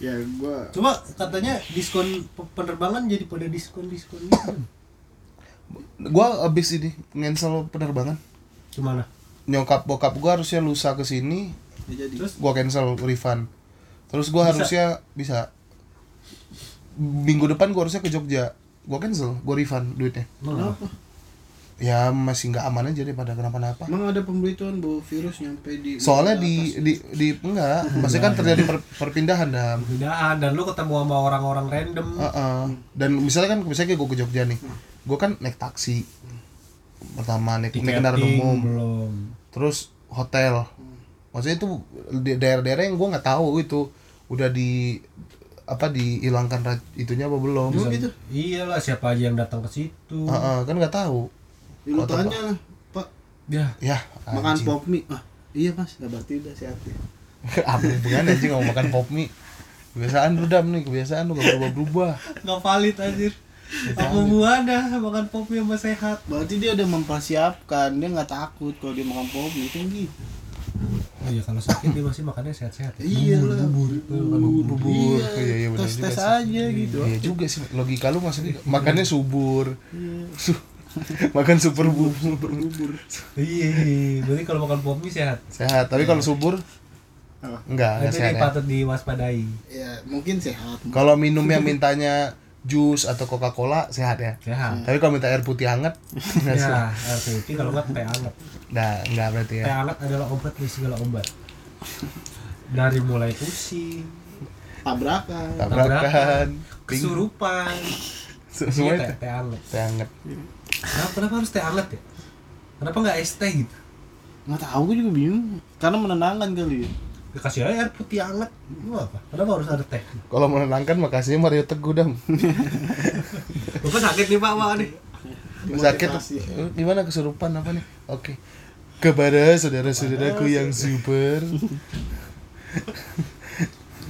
Speaker 8: Ya gua
Speaker 7: Coba katanya diskon pe- penerbangan jadi pada diskon diskon gitu.
Speaker 3: gua abis ini cancel penerbangan
Speaker 1: Gimana?
Speaker 3: nyokap bokap gua harusnya lusa ke sini
Speaker 4: Ya jadi.
Speaker 3: gua cancel refund terus gua harusnya bisa minggu depan gua harusnya ke Jogja gua cancel gua refund duitnya
Speaker 4: Kenapa?
Speaker 3: ya masih nggak aman aja daripada kenapa-napa
Speaker 4: Emang ada pemberitahuan bahwa virus nyampe di
Speaker 3: soalnya di di di enggak maksudnya kan terjadi per- perpindahan dam
Speaker 1: Bedaan dan lu ketemu sama orang-orang random.
Speaker 3: Heeh. Dan misalnya kan misalnya gue ke Jogja nih, gue kan naik taksi pertama naik, naik kendaraan
Speaker 1: Tiketing
Speaker 3: umum,
Speaker 1: belum.
Speaker 3: terus hotel. Maksudnya itu di- daerah-daerah yang gue nggak tahu itu udah di apa dihilangkan ra- itunya apa belum?
Speaker 1: gitu. Iyalah siapa aja yang datang ke situ.
Speaker 3: Heeh, kan nggak tahu.
Speaker 8: ya lu tanya lah, Pak,
Speaker 1: Ya,
Speaker 3: Ya,
Speaker 4: makan
Speaker 3: anjing.
Speaker 4: pop mie. Ah, iya Mas, ya, berarti udah sehat ya.
Speaker 3: apa hubungan anjing mau makan pop mie? Kebiasaan lu dam nih, kebiasaan lu gak berubah-berubah.
Speaker 7: Nggak valid anjir. Apa hubungannya makan pop mie sama sehat?
Speaker 4: Berarti dia udah mempersiapkan, dia nggak takut kalau dia makan pop mie kan gitu.
Speaker 1: iya kalau sakit dia masih makannya sehat-sehat ya.
Speaker 8: Iya lah.
Speaker 3: bubur bubur bubur iya iya benar
Speaker 4: tes
Speaker 3: juga
Speaker 4: tes
Speaker 3: sih
Speaker 4: aja gitu
Speaker 3: iya juga sih logika lu maksudnya makannya subur Su- makan Iya. super bubur
Speaker 1: iya iya. berarti kalau makan popmi sehat
Speaker 3: sehat tapi kalau subur
Speaker 8: Apa?
Speaker 3: enggak enggak
Speaker 1: itu
Speaker 3: sehat
Speaker 1: nih
Speaker 3: ya.
Speaker 1: patut diwaspadai
Speaker 8: Ya mungkin sehat.
Speaker 3: kalau minum yang mintanya jus atau coca cola sehat ya
Speaker 1: sehat
Speaker 3: tapi kalau minta air putih hangat nggak Hmm, sehat.
Speaker 1: ya air putih kalau nggak teh hangat
Speaker 3: nah enggak berarti ya
Speaker 1: teh hangat adalah obat dari segala obat dari mulai pusing
Speaker 8: Tabrakan.
Speaker 3: tabrakan ping-
Speaker 1: kesurupan
Speaker 3: se-
Speaker 1: Iya,
Speaker 3: semuanya
Speaker 1: teh teh hangat
Speaker 3: teh hangat
Speaker 1: kenapa, kenapa harus teh hangat ya kenapa nggak es teh gitu
Speaker 4: nggak tahu gue juga bingung karena menenangkan kali ya
Speaker 1: Ya, kasih aja air putih hangat itu apa kenapa harus ada teh
Speaker 3: kalau menenangkan makasihnya Mario Teguh dam
Speaker 1: bapak sakit nih pak pak nih
Speaker 3: sakit
Speaker 8: Motivasi.
Speaker 3: Eh, gimana kesurupan apa nih oke kepada saudara-saudaraku yang super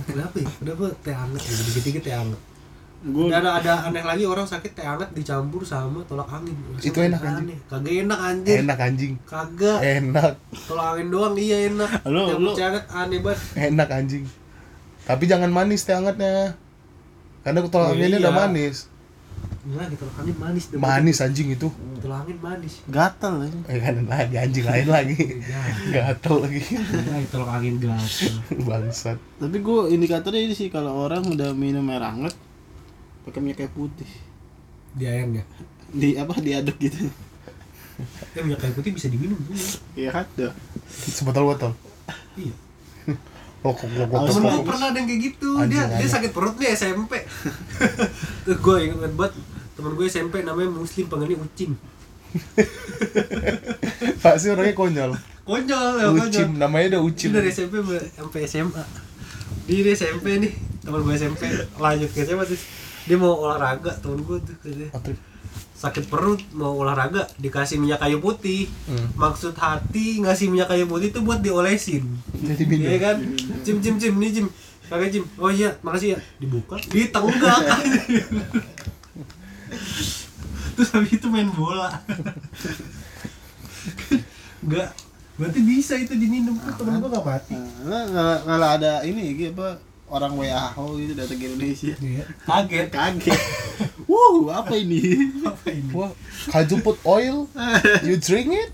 Speaker 1: kenapa ya kenapa teh hangat gitu dikit-dikit teh hangat
Speaker 4: gue
Speaker 1: Dan ada, ada aneh lagi orang sakit teh hangat dicampur sama tolak angin. Rasanya
Speaker 3: Itu enak,
Speaker 1: aneh.
Speaker 3: anjing.
Speaker 1: Kagak enak anjir.
Speaker 3: enak Eh. anjing
Speaker 1: Kagak.
Speaker 3: enak
Speaker 1: Tolak angin doang iya enak.
Speaker 4: Lu-
Speaker 1: Yang
Speaker 4: lu-
Speaker 1: percaya hangat aneh banget.
Speaker 3: enak anjing tapi jangan manis teh hangatnya karena tolak
Speaker 1: Iya.
Speaker 3: anginnya udah manis
Speaker 1: Enggak, gitu, tolak angin manis. deh.
Speaker 3: manis anjing itu
Speaker 1: Tolak angin manis.
Speaker 4: gatel aja
Speaker 3: eh kan lagi anjing lain lagi
Speaker 1: Iya.
Speaker 3: gatel lagi
Speaker 1: Enggak, itu tolak angin gas.
Speaker 3: bangsat
Speaker 4: tapi gue indikatornya ini sih kalau orang udah minum air hangat pakai minyak kayu putih
Speaker 1: Di ya. ayamnya.
Speaker 4: di apa diaduk gitu
Speaker 1: Ya minyak kayu putih bisa diminum dulu.
Speaker 4: iya kan tuh
Speaker 3: sebotol botol
Speaker 1: Iya.
Speaker 3: rokok rokok rokok
Speaker 4: Awas, Bang.
Speaker 1: Pernah, pernah ada yang kayak gitu.
Speaker 3: Anjing,
Speaker 1: dia dia
Speaker 3: anjing.
Speaker 1: sakit perut nih SMP. Tuh gue inget banget temen gue SMP namanya Muslim pengennya ucin.
Speaker 3: pasti orangnya konyol
Speaker 1: Konyol, ya, konyol.
Speaker 3: ucim namanya udah
Speaker 1: Ini
Speaker 3: ucim
Speaker 1: dari SMP sampai- sampai SMA. Dia dari SMP nih, teman gue SMP lanjut ke SMA terus dia mau olahraga temen gue tuh katanya.
Speaker 3: Patrick.
Speaker 1: sakit perut mau olahraga dikasih minyak kayu putih
Speaker 3: Hmm.
Speaker 1: maksud hati ngasih minyak kayu putih itu buat diolesin
Speaker 3: jadi
Speaker 1: iya
Speaker 3: minum
Speaker 1: kan cim cim cim nih cim pakai cim oh iya makasih ya dibuka ditenggak terus habis itu main bola enggak berarti bisa itu diminum kan temen gue gak mati
Speaker 4: Nah, kalau- kalau ada ini gitu apa orang WHO gitu datang ke Indonesia
Speaker 1: kaget
Speaker 4: kaget wow apa ini
Speaker 1: apa ini
Speaker 3: wah kaju put oil you drink it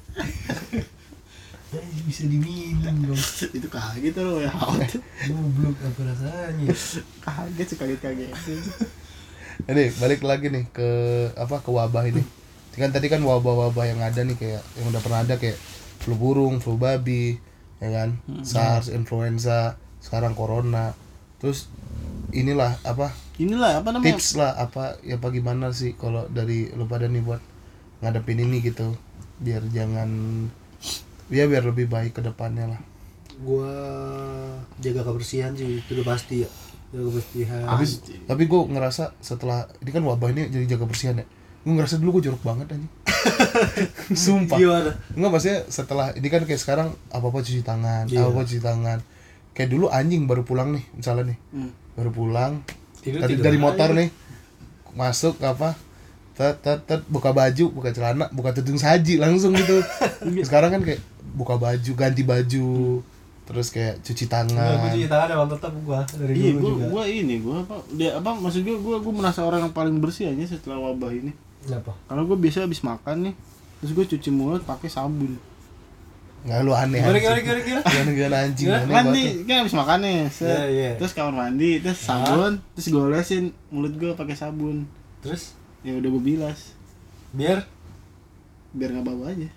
Speaker 1: Anjing, bisa diminum dong
Speaker 4: itu kaget tuh loh WHO tuh.
Speaker 1: goblok apa rasanya
Speaker 4: kaget sih kaget kaget
Speaker 3: Jadi Eh, balik lagi nih ke apa ke wabah ini. Kan tadi kan wabah-wabah yang ada nih kayak yang udah pernah ada kayak flu burung, flu babi, ya kan? SARS, influenza, sekarang corona. Terus inilah apa
Speaker 4: inilah apa namanya
Speaker 3: tips lah apa ya apa gimana sih kalau dari lu pada nih buat ngadepin ini gitu biar jangan ya biar lebih baik ke depannya lah.
Speaker 1: gua jaga kebersihan sih itu udah pasti ya jaga kebersihan
Speaker 3: Tapi, tapi gue ngerasa setelah ini kan wabah ini jadi jaga bersihan ya. Gue ngerasa dulu gue jorok banget aja. Sumpah.
Speaker 1: gimana
Speaker 3: Enggak maksudnya setelah ini kan kayak sekarang apa-apa cuci tangan,
Speaker 1: Iya.
Speaker 3: apa-apa cuci tangan. Kayak dulu anjing baru pulang nih, misalnya nih.
Speaker 4: Hmm.
Speaker 3: Baru pulang
Speaker 1: tidur
Speaker 3: dari, dari motor nih. Masuk apa? Tet, tet, tet, buka baju, buka celana, buka tudung saji langsung gitu. sekarang kan kayak buka baju, ganti baju, terus kayak cuci
Speaker 1: Enggak, gua
Speaker 3: tangan.
Speaker 1: cuci tangan emang tetap gua dari
Speaker 4: iya
Speaker 1: dulu
Speaker 4: gua
Speaker 1: juga
Speaker 4: gua ini gua apa dia apa maksud gua gua gua merasa orang yang paling bersih aja setelah wabah ini
Speaker 1: kenapa
Speaker 4: kalau gua biasa habis makan nih terus gua cuci mulut pakai sabun
Speaker 3: Enggak lu aneh.
Speaker 1: gimana
Speaker 3: anjing.
Speaker 1: gimana gimana gimana
Speaker 3: Gimana gimana anjing
Speaker 1: Gimana?
Speaker 3: aneh banget.
Speaker 4: mandi kan habis makan nih set.
Speaker 1: Iya, iya.
Speaker 4: terus kamar mandi terus sabun terus gue olesin mulut gue pakai sabun
Speaker 1: terus
Speaker 4: ya udah gue bilas
Speaker 1: biar
Speaker 4: biar nggak bau aja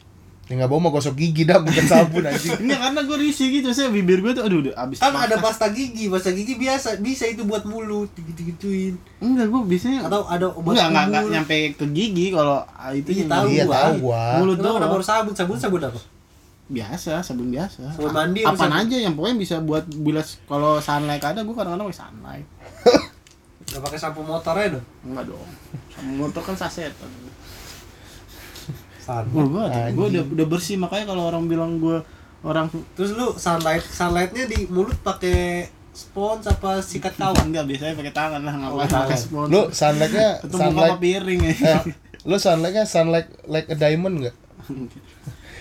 Speaker 3: Ya nggak mau mau gosok gigi dah bukan sabun anjing.
Speaker 4: ini karena gue risih gitu saya bibir gue tuh aduh udah abis
Speaker 1: kan ada pasta gigi pasta gigi biasa bisa itu buat mulut gitu gituin
Speaker 4: enggak gue biasanya
Speaker 1: atau ada obat
Speaker 4: enggak enggak
Speaker 1: kubur.
Speaker 4: enggak nyampe ke gigi kalau itu
Speaker 1: Iya,
Speaker 4: yang
Speaker 1: tahu
Speaker 3: Iya
Speaker 1: gua.
Speaker 3: tahu gua.
Speaker 4: mulut
Speaker 1: Kenapa kenapa
Speaker 4: doang
Speaker 1: harus sabun sabun sabun apa
Speaker 4: biasa sabun biasa
Speaker 1: Sabun mandi apa
Speaker 4: apaan
Speaker 1: sabun?
Speaker 4: aja yang pokoknya bisa buat bilas kalau sunlight ada gue kadang-kadang pakai sunlight
Speaker 1: nggak pakai sampo motor aja dong
Speaker 4: enggak dong Sama motor kan saset
Speaker 1: sabun
Speaker 4: gue gue udah udah bersih makanya kalau orang bilang gue orang
Speaker 1: terus lu sunlight sunlightnya di mulut pakai spons apa sikat
Speaker 4: Kawan
Speaker 1: kawan
Speaker 4: enggak biasanya pakai tangan lah
Speaker 1: Oh,
Speaker 4: ngapain
Speaker 1: tangan.
Speaker 4: pakai spons.
Speaker 3: Lu sunlightnya
Speaker 4: ketemu sama
Speaker 3: sunlight
Speaker 4: piring ya.
Speaker 3: eh, lu sunlightnya sunlight like a diamond nggak?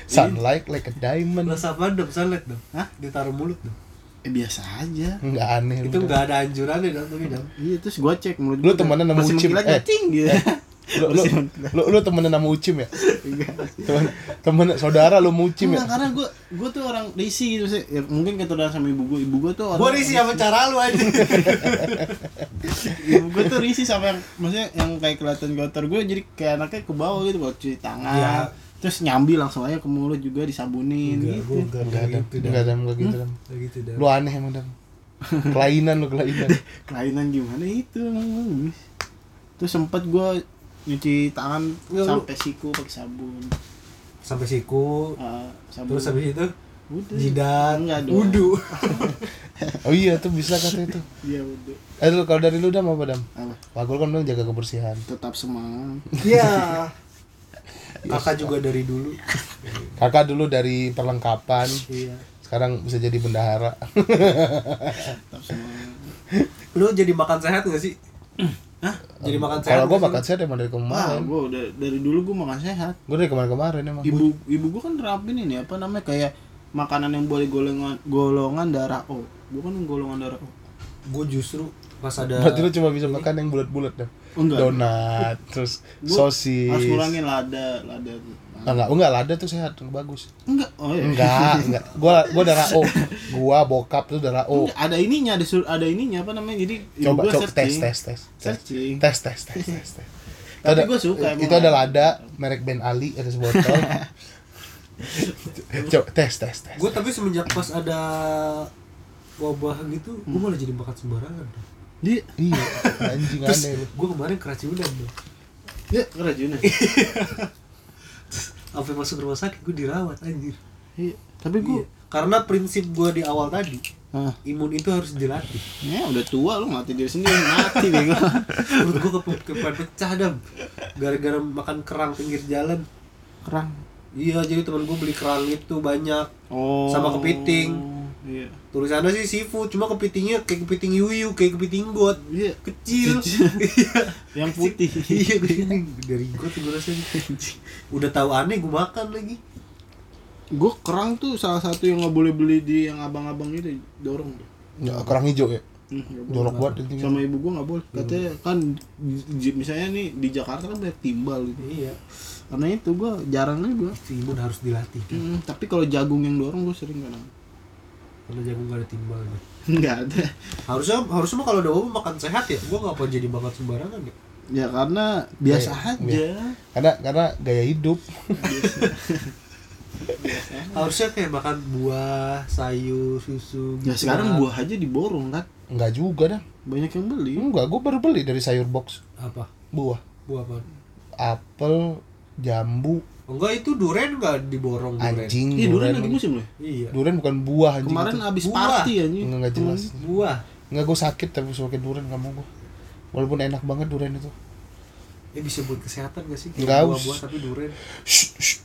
Speaker 3: sunlight like a diamond
Speaker 1: Rasa apa dong? Sunlight dong?
Speaker 4: Hah?
Speaker 1: Ditaruh mulut dong?
Speaker 4: Eh, biasa aja.
Speaker 3: nggak aneh
Speaker 1: Itu
Speaker 3: udah.
Speaker 1: nggak ada ya, anjurannya dong tapi dong
Speaker 4: Iya, terus gua cek mulut
Speaker 3: Lu
Speaker 4: gua
Speaker 3: temenan sama
Speaker 4: masih
Speaker 3: Ucim,
Speaker 4: mengkilat
Speaker 3: eh.
Speaker 4: nggak, cing gitu.
Speaker 3: lu lu lu, lu temenan sama ucim ya temen temen saudara lu sama ucim ya
Speaker 4: Enggak, karena gua gua tuh orang risi gitu sih. Ya, mungkin keturunan sama ibu gua. Ibu gua tuh orang
Speaker 1: Gue risih sama cara lu aja
Speaker 4: Ibu gua tuh risi sama yang maksudnya yang kayak kelihatan kotor gua jadi kayak anaknya ke bawah gitu buat cuci tangan.
Speaker 1: Iya.
Speaker 4: Terus nyambi langsung aja ke mulut juga disabunin gitu.
Speaker 3: nggak ada nggak ada nggak gitu Dam.
Speaker 1: gitu dong
Speaker 3: lu aneh emang dam kelainan lu kelainan
Speaker 4: kelainan gimana itu emang. terus sempet gua nyuci tangan
Speaker 1: Nggak, lu-
Speaker 4: sampai siku pakai sabun
Speaker 1: Sampai siku
Speaker 4: Eh, sabun
Speaker 1: Terus habis itu
Speaker 4: Udah.
Speaker 1: jidat
Speaker 4: Enggak dong.
Speaker 1: Wudu
Speaker 3: oh iya tuh bisa katanya tuh
Speaker 4: iya udah
Speaker 3: eh lu, kalau dari lu dam apa dam
Speaker 4: apa
Speaker 3: Pagul kan bilang jaga kebersihan
Speaker 4: tetap semangat
Speaker 1: Iya Kakak juga dari dulu
Speaker 3: kakak dulu dari perlengkapan
Speaker 1: Iya
Speaker 3: sekarang bisa jadi bendahara
Speaker 4: tetap semangat
Speaker 1: Lu jadi makan sehat gak sih? Hah? Jadi makan
Speaker 3: kalau
Speaker 1: sehat
Speaker 3: gua
Speaker 1: nggak sih
Speaker 3: makan
Speaker 1: lu?
Speaker 3: sehat emang dari
Speaker 4: wah
Speaker 3: kemarin
Speaker 4: Ah, gua udah dari dulu gua makan sehat
Speaker 3: gua dari kemarin-kemarin emang
Speaker 4: ibu ibu gua kan nerapin ini apa namanya kayak makanan yang boleh golongan golongan darah O gua kan golongan darah O
Speaker 1: Gua justru pas ada
Speaker 3: berarti lu cuma bisa makan yang bulat-bulat dam
Speaker 4: Oh, enggak
Speaker 3: donat terus
Speaker 4: Gua
Speaker 3: sosis Ah,
Speaker 4: harus ngurangin lada lada tuh.
Speaker 3: enggak oh, enggak lada tuh sehat bagus
Speaker 4: enggak oh iya
Speaker 3: Enggak, enggak. Gua gua darah O. Gua bokap tuh darah O.
Speaker 4: Enggak, ada ininya ada sur- ada ininya apa namanya jadi ibu
Speaker 3: Coba
Speaker 4: gua
Speaker 3: coba tes
Speaker 4: searching.
Speaker 3: tes tes. Tes
Speaker 4: Searching.
Speaker 3: tes tes tes tes. tes. Itu
Speaker 4: Tapi gua suka emang.
Speaker 3: Itu ada lada merek Ben Ali ada sebotol. coba tes tes tes.
Speaker 1: Gue tapi semenjak pas ada wabah gitu, gue malah jadi makan sembarangan.
Speaker 4: Dia
Speaker 3: Iya, anjing
Speaker 1: Terus
Speaker 3: aneh lu.
Speaker 1: gue kemarin keracunan tuh.
Speaker 4: ya keracunan.
Speaker 3: Iya.
Speaker 1: Sampai masuk rumah sakit gue dirawat anjir.
Speaker 4: Iya, Tapi gua
Speaker 1: Iya. Karena prinsip gue di awal tadi,
Speaker 3: Iya.
Speaker 4: Hah.
Speaker 1: imun itu harus dilatih.
Speaker 4: ya udah tua lu mati diri sendiri mati bego.
Speaker 1: Menurut gue kepe- kepengen pecah dam. Gara-gara makan kerang pinggir jalan.
Speaker 4: Kerang.
Speaker 1: Iya, jadi temen gue beli kerang itu banyak.
Speaker 4: Oh.
Speaker 1: Sama kepiting.
Speaker 4: Iya.
Speaker 1: Tulisannya sih seafood, cuma kepitingnya kayak kepiting yuyu, kayak kepiting got.
Speaker 4: Iya,
Speaker 1: Kecil.
Speaker 4: yang putih.
Speaker 1: iya gue- dari gue tuh gue rasanya udah tahu aneh gue makan lagi
Speaker 4: gua kerang tuh salah satu yang nggak boleh beli di yang abang-abang itu dorong.
Speaker 3: Ya, kerang hijau ya.
Speaker 4: Hmm, nggak boleh.
Speaker 3: Jorok banget intinya.
Speaker 4: sama ibu gua nggak boleh katanya kan di- di- misalnya nih di Jakarta kan banyak timbal gitu
Speaker 1: iya
Speaker 4: karena itu gua jarang aja gua
Speaker 1: si imun harus dilatih
Speaker 4: Hmm, tapi kalau jagung yang dorong gua sering kadang
Speaker 1: kalau jagung gak ada timbalnya
Speaker 4: nggak ada
Speaker 1: harusnya harusnya mah kalau ada wabah makan sehat ya gue nggak apa jadi makan sembarangan ya
Speaker 4: ya karena biasa
Speaker 3: Kayak-
Speaker 4: aja
Speaker 3: Karena karena gaya hidup.
Speaker 1: harusnya kayak makan buah sayur susu gitu
Speaker 4: ya sekarang buah aja diborong kan
Speaker 3: Enggak juga dah.
Speaker 4: banyak yang beli
Speaker 3: Enggak, gua baru beli dari sayur box.
Speaker 1: apa
Speaker 3: Buah,
Speaker 1: buah apa
Speaker 3: apel, jambu,
Speaker 1: enggak itu duren nggak diborong duren
Speaker 3: anjing,
Speaker 4: Iya durian
Speaker 3: durian.
Speaker 4: lagi musim loh.
Speaker 1: iya
Speaker 3: Durian bukan buah anjing.
Speaker 4: Kemarin
Speaker 3: itu.
Speaker 4: abis
Speaker 1: Buah.
Speaker 4: party anjing.
Speaker 3: Enggak, enggak jelas.
Speaker 1: buah
Speaker 3: Enggak gue sakit tapi suka durian gak mau gue Walaupun enak banget durian itu
Speaker 1: eh bisa buat kesehatan gak sih
Speaker 3: Nggak
Speaker 1: kayak
Speaker 3: us.
Speaker 1: buah-buah tapi duren
Speaker 3: Shh, shh,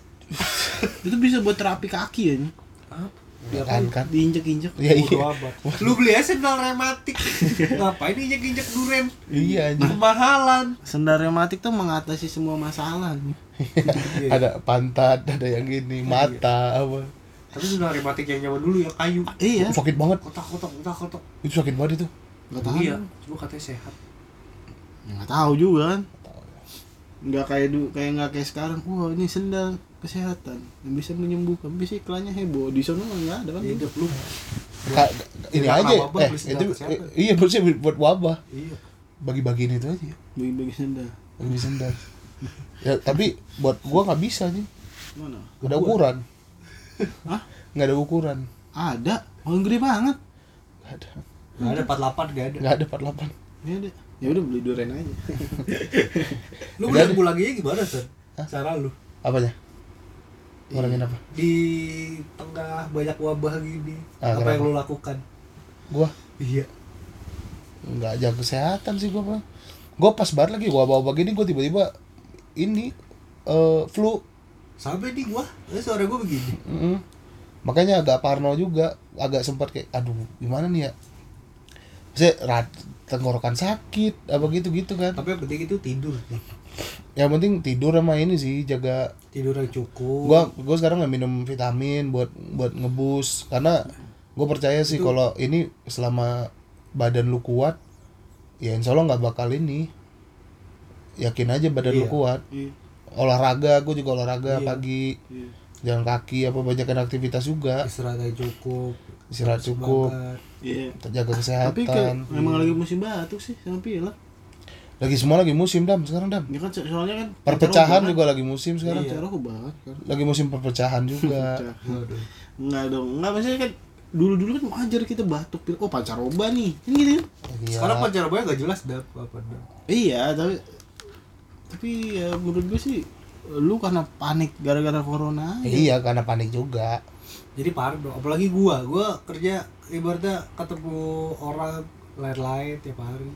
Speaker 4: Itu bisa buat terapi kaki anjing.
Speaker 1: apa
Speaker 3: kan kan
Speaker 4: Diinjek-injek.
Speaker 3: Iya iya
Speaker 1: Bodo amat. Lu beli aja sendal rematik. Ngapain injek-injek duren?
Speaker 3: Iya anjing
Speaker 1: Kemahalan.
Speaker 4: Sendal reumatik tuh mengatasi semua masalah. anjing. Iya,
Speaker 1: Iya.
Speaker 3: Ada pantat, ada yang gini, mata apa
Speaker 1: Tapi sendal rematik yang nyaman dulu ya kayu.
Speaker 4: Iya.
Speaker 3: Sakit banget,
Speaker 1: Kotak-kotak, kotak-kotak.
Speaker 3: itu sakit banget itu
Speaker 4: Gak tahan.
Speaker 1: Iya, cuma katanya sehat.
Speaker 4: Gak tahu juga kan. Nggak kayak du kayak nggak kayak sekarang. Wah ini sendal kesehatan yang bisa menyembuhkan. Bisa iklannya heboh. Di sana nggak ada kan?
Speaker 1: Ya hidup lu.
Speaker 4: Iya.
Speaker 3: Ka- Ini
Speaker 1: Karena
Speaker 3: aja ya,
Speaker 1: wabah
Speaker 3: eh,
Speaker 1: beli sendal
Speaker 3: itu,
Speaker 1: kesehatan.
Speaker 3: eh, Iya maksudnya buat- buat wabah
Speaker 1: Iya.
Speaker 3: Bagi-bagiin itu aja
Speaker 4: Bagi-bagi sendal.
Speaker 3: Bagi sendal Ya tapi buat gua gak bisa nih
Speaker 4: Mana?
Speaker 3: Gak ada ukuran
Speaker 4: Hah?
Speaker 3: Gak ada ukuran
Speaker 4: Ada. Orang gede banget.
Speaker 3: Gak ada
Speaker 1: Gak ada 48 gak ada.
Speaker 3: Gak ada 48
Speaker 4: Ya ada. Ya udah beli durian aja.
Speaker 1: Lu
Speaker 3: Nggak
Speaker 1: udah
Speaker 3: ada.
Speaker 1: pulangnya gimana, San? Cara lu
Speaker 3: Apanya? Ngurangin apa?
Speaker 1: di tengah banyak wabah gini,
Speaker 3: Ah,
Speaker 1: apa
Speaker 3: kenapa?
Speaker 1: yang lu lakukan?
Speaker 3: Gua
Speaker 1: Iya.
Speaker 3: nggak jaga kesehatan sih gue mah gue pas banget lagi gue bawa gini gue tiba-tiba ini eh, flu
Speaker 1: Sampai di gua, eh, suara gua begini.
Speaker 3: Mm-mm. makanya agak parno juga agak sempat kayak aduh gimana nih ya saya rat tenggorokan sakit apa gitu gitu kan
Speaker 1: tapi yang penting itu tidur nih
Speaker 3: yang penting tidur sama ini sih jaga
Speaker 1: tidur yang cukup
Speaker 3: gua gua sekarang nggak minum vitamin buat buat ngebus karena gua percaya sih kalau ini selama badan lu kuat ya insya Allah nggak bakal ini yakin aja badan lu
Speaker 1: Iya.
Speaker 3: kuat
Speaker 4: Iya.
Speaker 3: olahraga gua juga olahraga
Speaker 1: Iya.
Speaker 3: pagi
Speaker 4: Iya.
Speaker 3: jalan kaki apa banyakin aktivitas juga
Speaker 1: istirahat yang cukup
Speaker 3: istirahat cukup
Speaker 1: Iya, semangat.
Speaker 4: Iya.
Speaker 3: jaga
Speaker 4: Tapi kayak
Speaker 3: kesehatan
Speaker 4: memang lagi musim batuk sih sama pilek.
Speaker 3: lagi semua lagi musim dam sekarang
Speaker 1: Iya,
Speaker 3: dam
Speaker 4: Ya kan so- soalnya kan
Speaker 3: perpecahan
Speaker 4: pacar aku
Speaker 3: juga lagi musim
Speaker 4: banget.
Speaker 3: sekarang
Speaker 4: Pacar aku banget kan.
Speaker 3: lagi musim perpecahan juga
Speaker 4: Pacar. Enggak dong. Enggak maksudnya kan dulu-dulu kan wajar kita batuk pilek. Oh, pacar oba nih. Kan gitu kan.
Speaker 3: Iya.
Speaker 1: sekarang pancarabaya nggak jelas dah apa dah
Speaker 4: Iya, tapi tapi ya menurut gue sih lu karena panik gara-gara corona aja.
Speaker 3: iya karena panik juga
Speaker 1: jadi parah dong apalagi gua gua kerja ibaratnya ketemu orang lain-lain tiap hari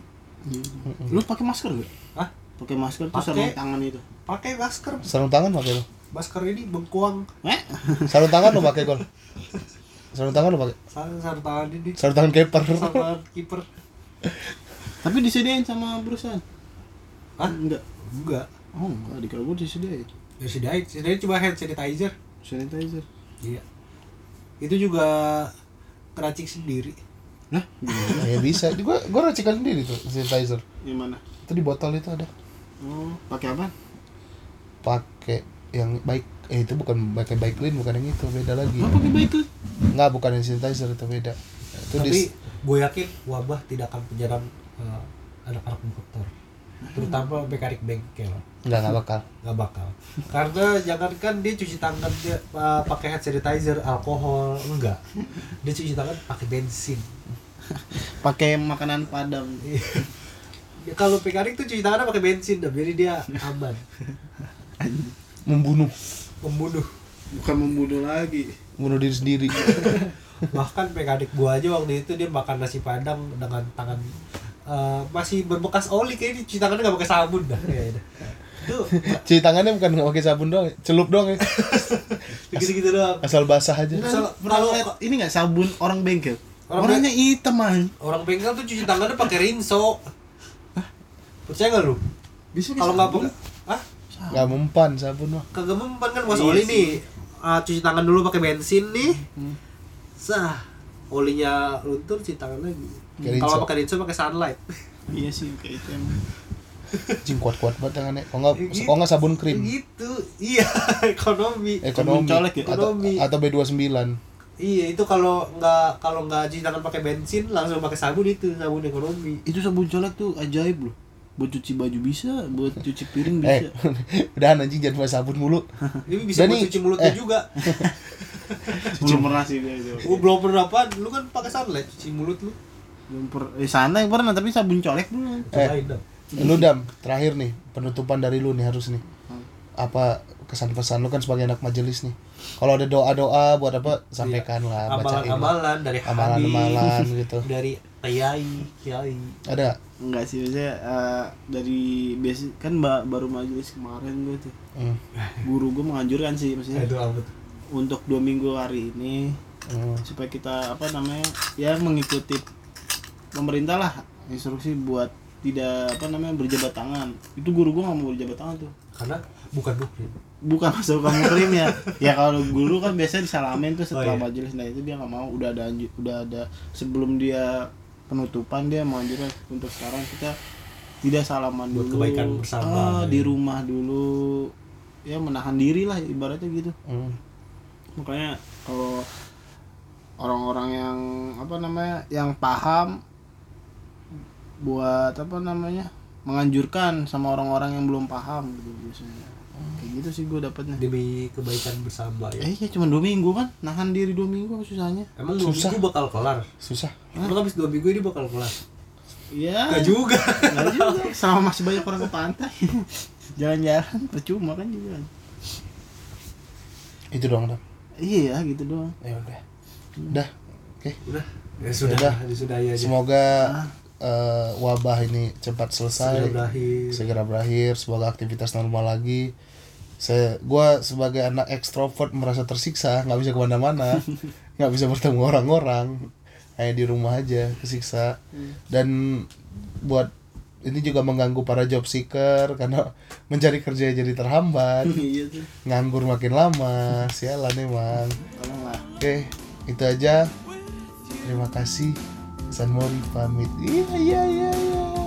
Speaker 4: Lu pakai masker gak?
Speaker 1: Hah?
Speaker 4: Pakai masker tuh
Speaker 1: Pakai.
Speaker 4: sarung tangan itu.
Speaker 1: pakai masker
Speaker 3: sarung tangan pakai lo
Speaker 1: masker ini bengkuang
Speaker 4: Eh?
Speaker 3: sarung tangan lo pakai gol sarung tangan lo pakai
Speaker 1: sarung sarung tangan ini
Speaker 3: sarung tangan keeper
Speaker 1: sarung tangan kiper
Speaker 4: Tapi disediain sama perusahaan.
Speaker 1: Hah?
Speaker 4: Enggak.
Speaker 1: enggak
Speaker 4: Oh, enggak dikira gue disediain.
Speaker 1: ya sudah sudah cuma hand sanitizer
Speaker 4: Sanitizer.
Speaker 1: iya itu juga keracik sendiri
Speaker 4: Nah,
Speaker 3: ya bisa Ini gua gua racikan sendiri tuh sanitizer
Speaker 4: gimana?
Speaker 3: itu di botol itu ada
Speaker 4: Oh, pakai apa?
Speaker 3: pakai yang baik eh itu bukan pakai baik clean bukan yang itu beda lagi
Speaker 4: Apa pakai baik tuh?
Speaker 3: nggak bukan yang sanitizer itu beda itu di
Speaker 1: tapi gue yakin wabah tidak akan menyerang eh, anak-anak motor terutama mekanik bengkel
Speaker 3: nggak nggak bakal
Speaker 1: nggak bakal karena jangankan dia cuci tangan dia uh, pakai hand sanitizer alkohol enggak dia cuci tangan pakai bensin
Speaker 4: Pakai makanan Padang.
Speaker 1: ya, kalau mekanik tuh cuci tangan pakai bensin dah, jadi dia aman
Speaker 3: membunuh
Speaker 1: membunuh
Speaker 9: bukan membunuh lagi
Speaker 3: membunuh diri sendiri
Speaker 1: bahkan mekanik gua aja waktu itu dia makan nasi padang dengan tangan uh, masih berbekas oli kayaknya cuci tangannya nggak pakai sabun dah kayaknya itu
Speaker 3: cuci tangannya bukan nggak pakai sabun doang ya. celup doang ya
Speaker 1: gitu-gitu doang
Speaker 3: asal basah aja
Speaker 1: Asal-
Speaker 4: Pernah
Speaker 1: kalau-
Speaker 4: liat ini enggak sabun orang bengkel?
Speaker 1: Orang
Speaker 4: Orangnya hitam man.
Speaker 1: orang bengkel tuh cuci tangannya pakai rinso percaya nggak lu
Speaker 4: Bisa
Speaker 1: kalau nggak pakai ah
Speaker 3: nggak mempan sabun mah
Speaker 1: kagak mempan kan
Speaker 3: Iya
Speaker 1: mas oli nih Ah, cuci tangan dulu pakai bensin nih
Speaker 3: Hmm.
Speaker 1: sah olinya luntur cuci tangan lagi
Speaker 3: Pakai
Speaker 1: kalau
Speaker 3: rinso.
Speaker 1: pakai rinso pakai sunlight
Speaker 4: Iya sih kayak itu. emang.
Speaker 3: Cing kuat-kuat banget tangannya. Kok nggak
Speaker 1: Gitu.
Speaker 3: kok nggak sabun krim? Eh,
Speaker 1: gitu iya ekonomi
Speaker 3: Ekonomi.
Speaker 4: Sabun colek ya?
Speaker 3: Atau,
Speaker 1: Ekonomi.
Speaker 3: atau B29.
Speaker 1: iya itu kalau nggak kalau nggak cuci tangan pakai bensin langsung pakai sabun itu sabun ekonomi
Speaker 4: Itu sabun colek tuh ajaib loh. Buat cuci baju bisa, buat cuci piring
Speaker 3: Eh,
Speaker 4: bisa.
Speaker 3: udahan anjing jangan pakai sabun mulu.
Speaker 1: ini bisa
Speaker 3: Dan nih,
Speaker 1: buat cuci mulutnya
Speaker 3: eh.
Speaker 1: juga
Speaker 4: Belum Oh, pernah sih gue itu.
Speaker 1: Gua belum pernah apa lu kan pakai sunlight cuci mulut lu
Speaker 4: Belum per- eh, santai pernah tapi sabun colek belum.
Speaker 3: Eh,
Speaker 1: cobain dong
Speaker 3: Lu dam, terakhir nih penutupan dari lu nih harus nih. Apa kesan pesan lu kan sebagai anak majelis nih. Kalau ada doa-doa buat apa sampaikan lah, ah, bacain. lah.
Speaker 1: amalan-amalan dari habib
Speaker 3: Amalan-amalan gitu.
Speaker 1: dari kiai kiai
Speaker 3: Ada nggak?
Speaker 4: Enggak sih, biasanya eh, dari biasa kan ba- baru majelis kemarin gue tuh.
Speaker 3: Hmm.
Speaker 4: Eh. Guru gue menganjurkan sih maksudnya
Speaker 1: itu amat
Speaker 4: untuk dua minggu hari ini
Speaker 3: Hmm.
Speaker 4: supaya kita apa namanya ya mengikuti pemerintah lah instruksi buat tidak apa namanya berjabat tangan itu guru gua nggak mau berjabat tangan tuh
Speaker 1: karena bukan bukti
Speaker 4: bukan masuk kamu krim ya ya kalau guru kan biasanya disalamin tuh
Speaker 1: Oh, iya.
Speaker 4: setelah majelis nah itu dia nggak mau udah ada anju- udah ada sebelum dia penutupan dia mau anjuran untuk sekarang kita tidak salaman
Speaker 1: Buat
Speaker 4: dulu
Speaker 1: kebaikan bersama. iya.
Speaker 4: Ah, di rumah dulu ya menahan diri lah ibaratnya gitu
Speaker 3: Hmm.
Speaker 4: makanya kalau orang-orang yang apa namanya yang paham buat apa namanya menganjurkan sama orang-orang yang belum paham gitu biasanya kayak gitu sih gue dapatnya
Speaker 1: demi kebaikan bersama ya
Speaker 4: eh ya cuma dua minggu kan nahan diri dua minggu apa susahnya
Speaker 1: emang dua
Speaker 3: Susah.
Speaker 1: minggu bakal kelar
Speaker 3: Susah.
Speaker 1: emang habis dua minggu ini bakal kelar
Speaker 4: iya
Speaker 1: Gak juga
Speaker 4: nggak juga sama masih banyak orang ke pantai jalan-jalan percuma kan juga
Speaker 3: Itu doang, Dam.
Speaker 4: iya gitu doang
Speaker 3: Ya udah. Udah. Oke.
Speaker 1: udah ya sudah
Speaker 3: Yaudah.
Speaker 1: ya sudah ya aja
Speaker 3: Semoga eh, wabah ini cepat selesai.
Speaker 1: sudah berakhir
Speaker 3: segera berakhir semoga aktivitas normal lagi saya gue sebagai anak ekstrovert merasa tersiksa nggak bisa kemana-mana nggak bisa bertemu orang-orang hanya di rumah aja kesiksa dan buat ini juga mengganggu para job seeker karena mencari kerja jadi terhambat
Speaker 4: iya tuh
Speaker 3: nganggur makin lama sialan emang
Speaker 4: tolonglah
Speaker 3: oke itu aja terima kasih San Mori pamit iya iya iya iya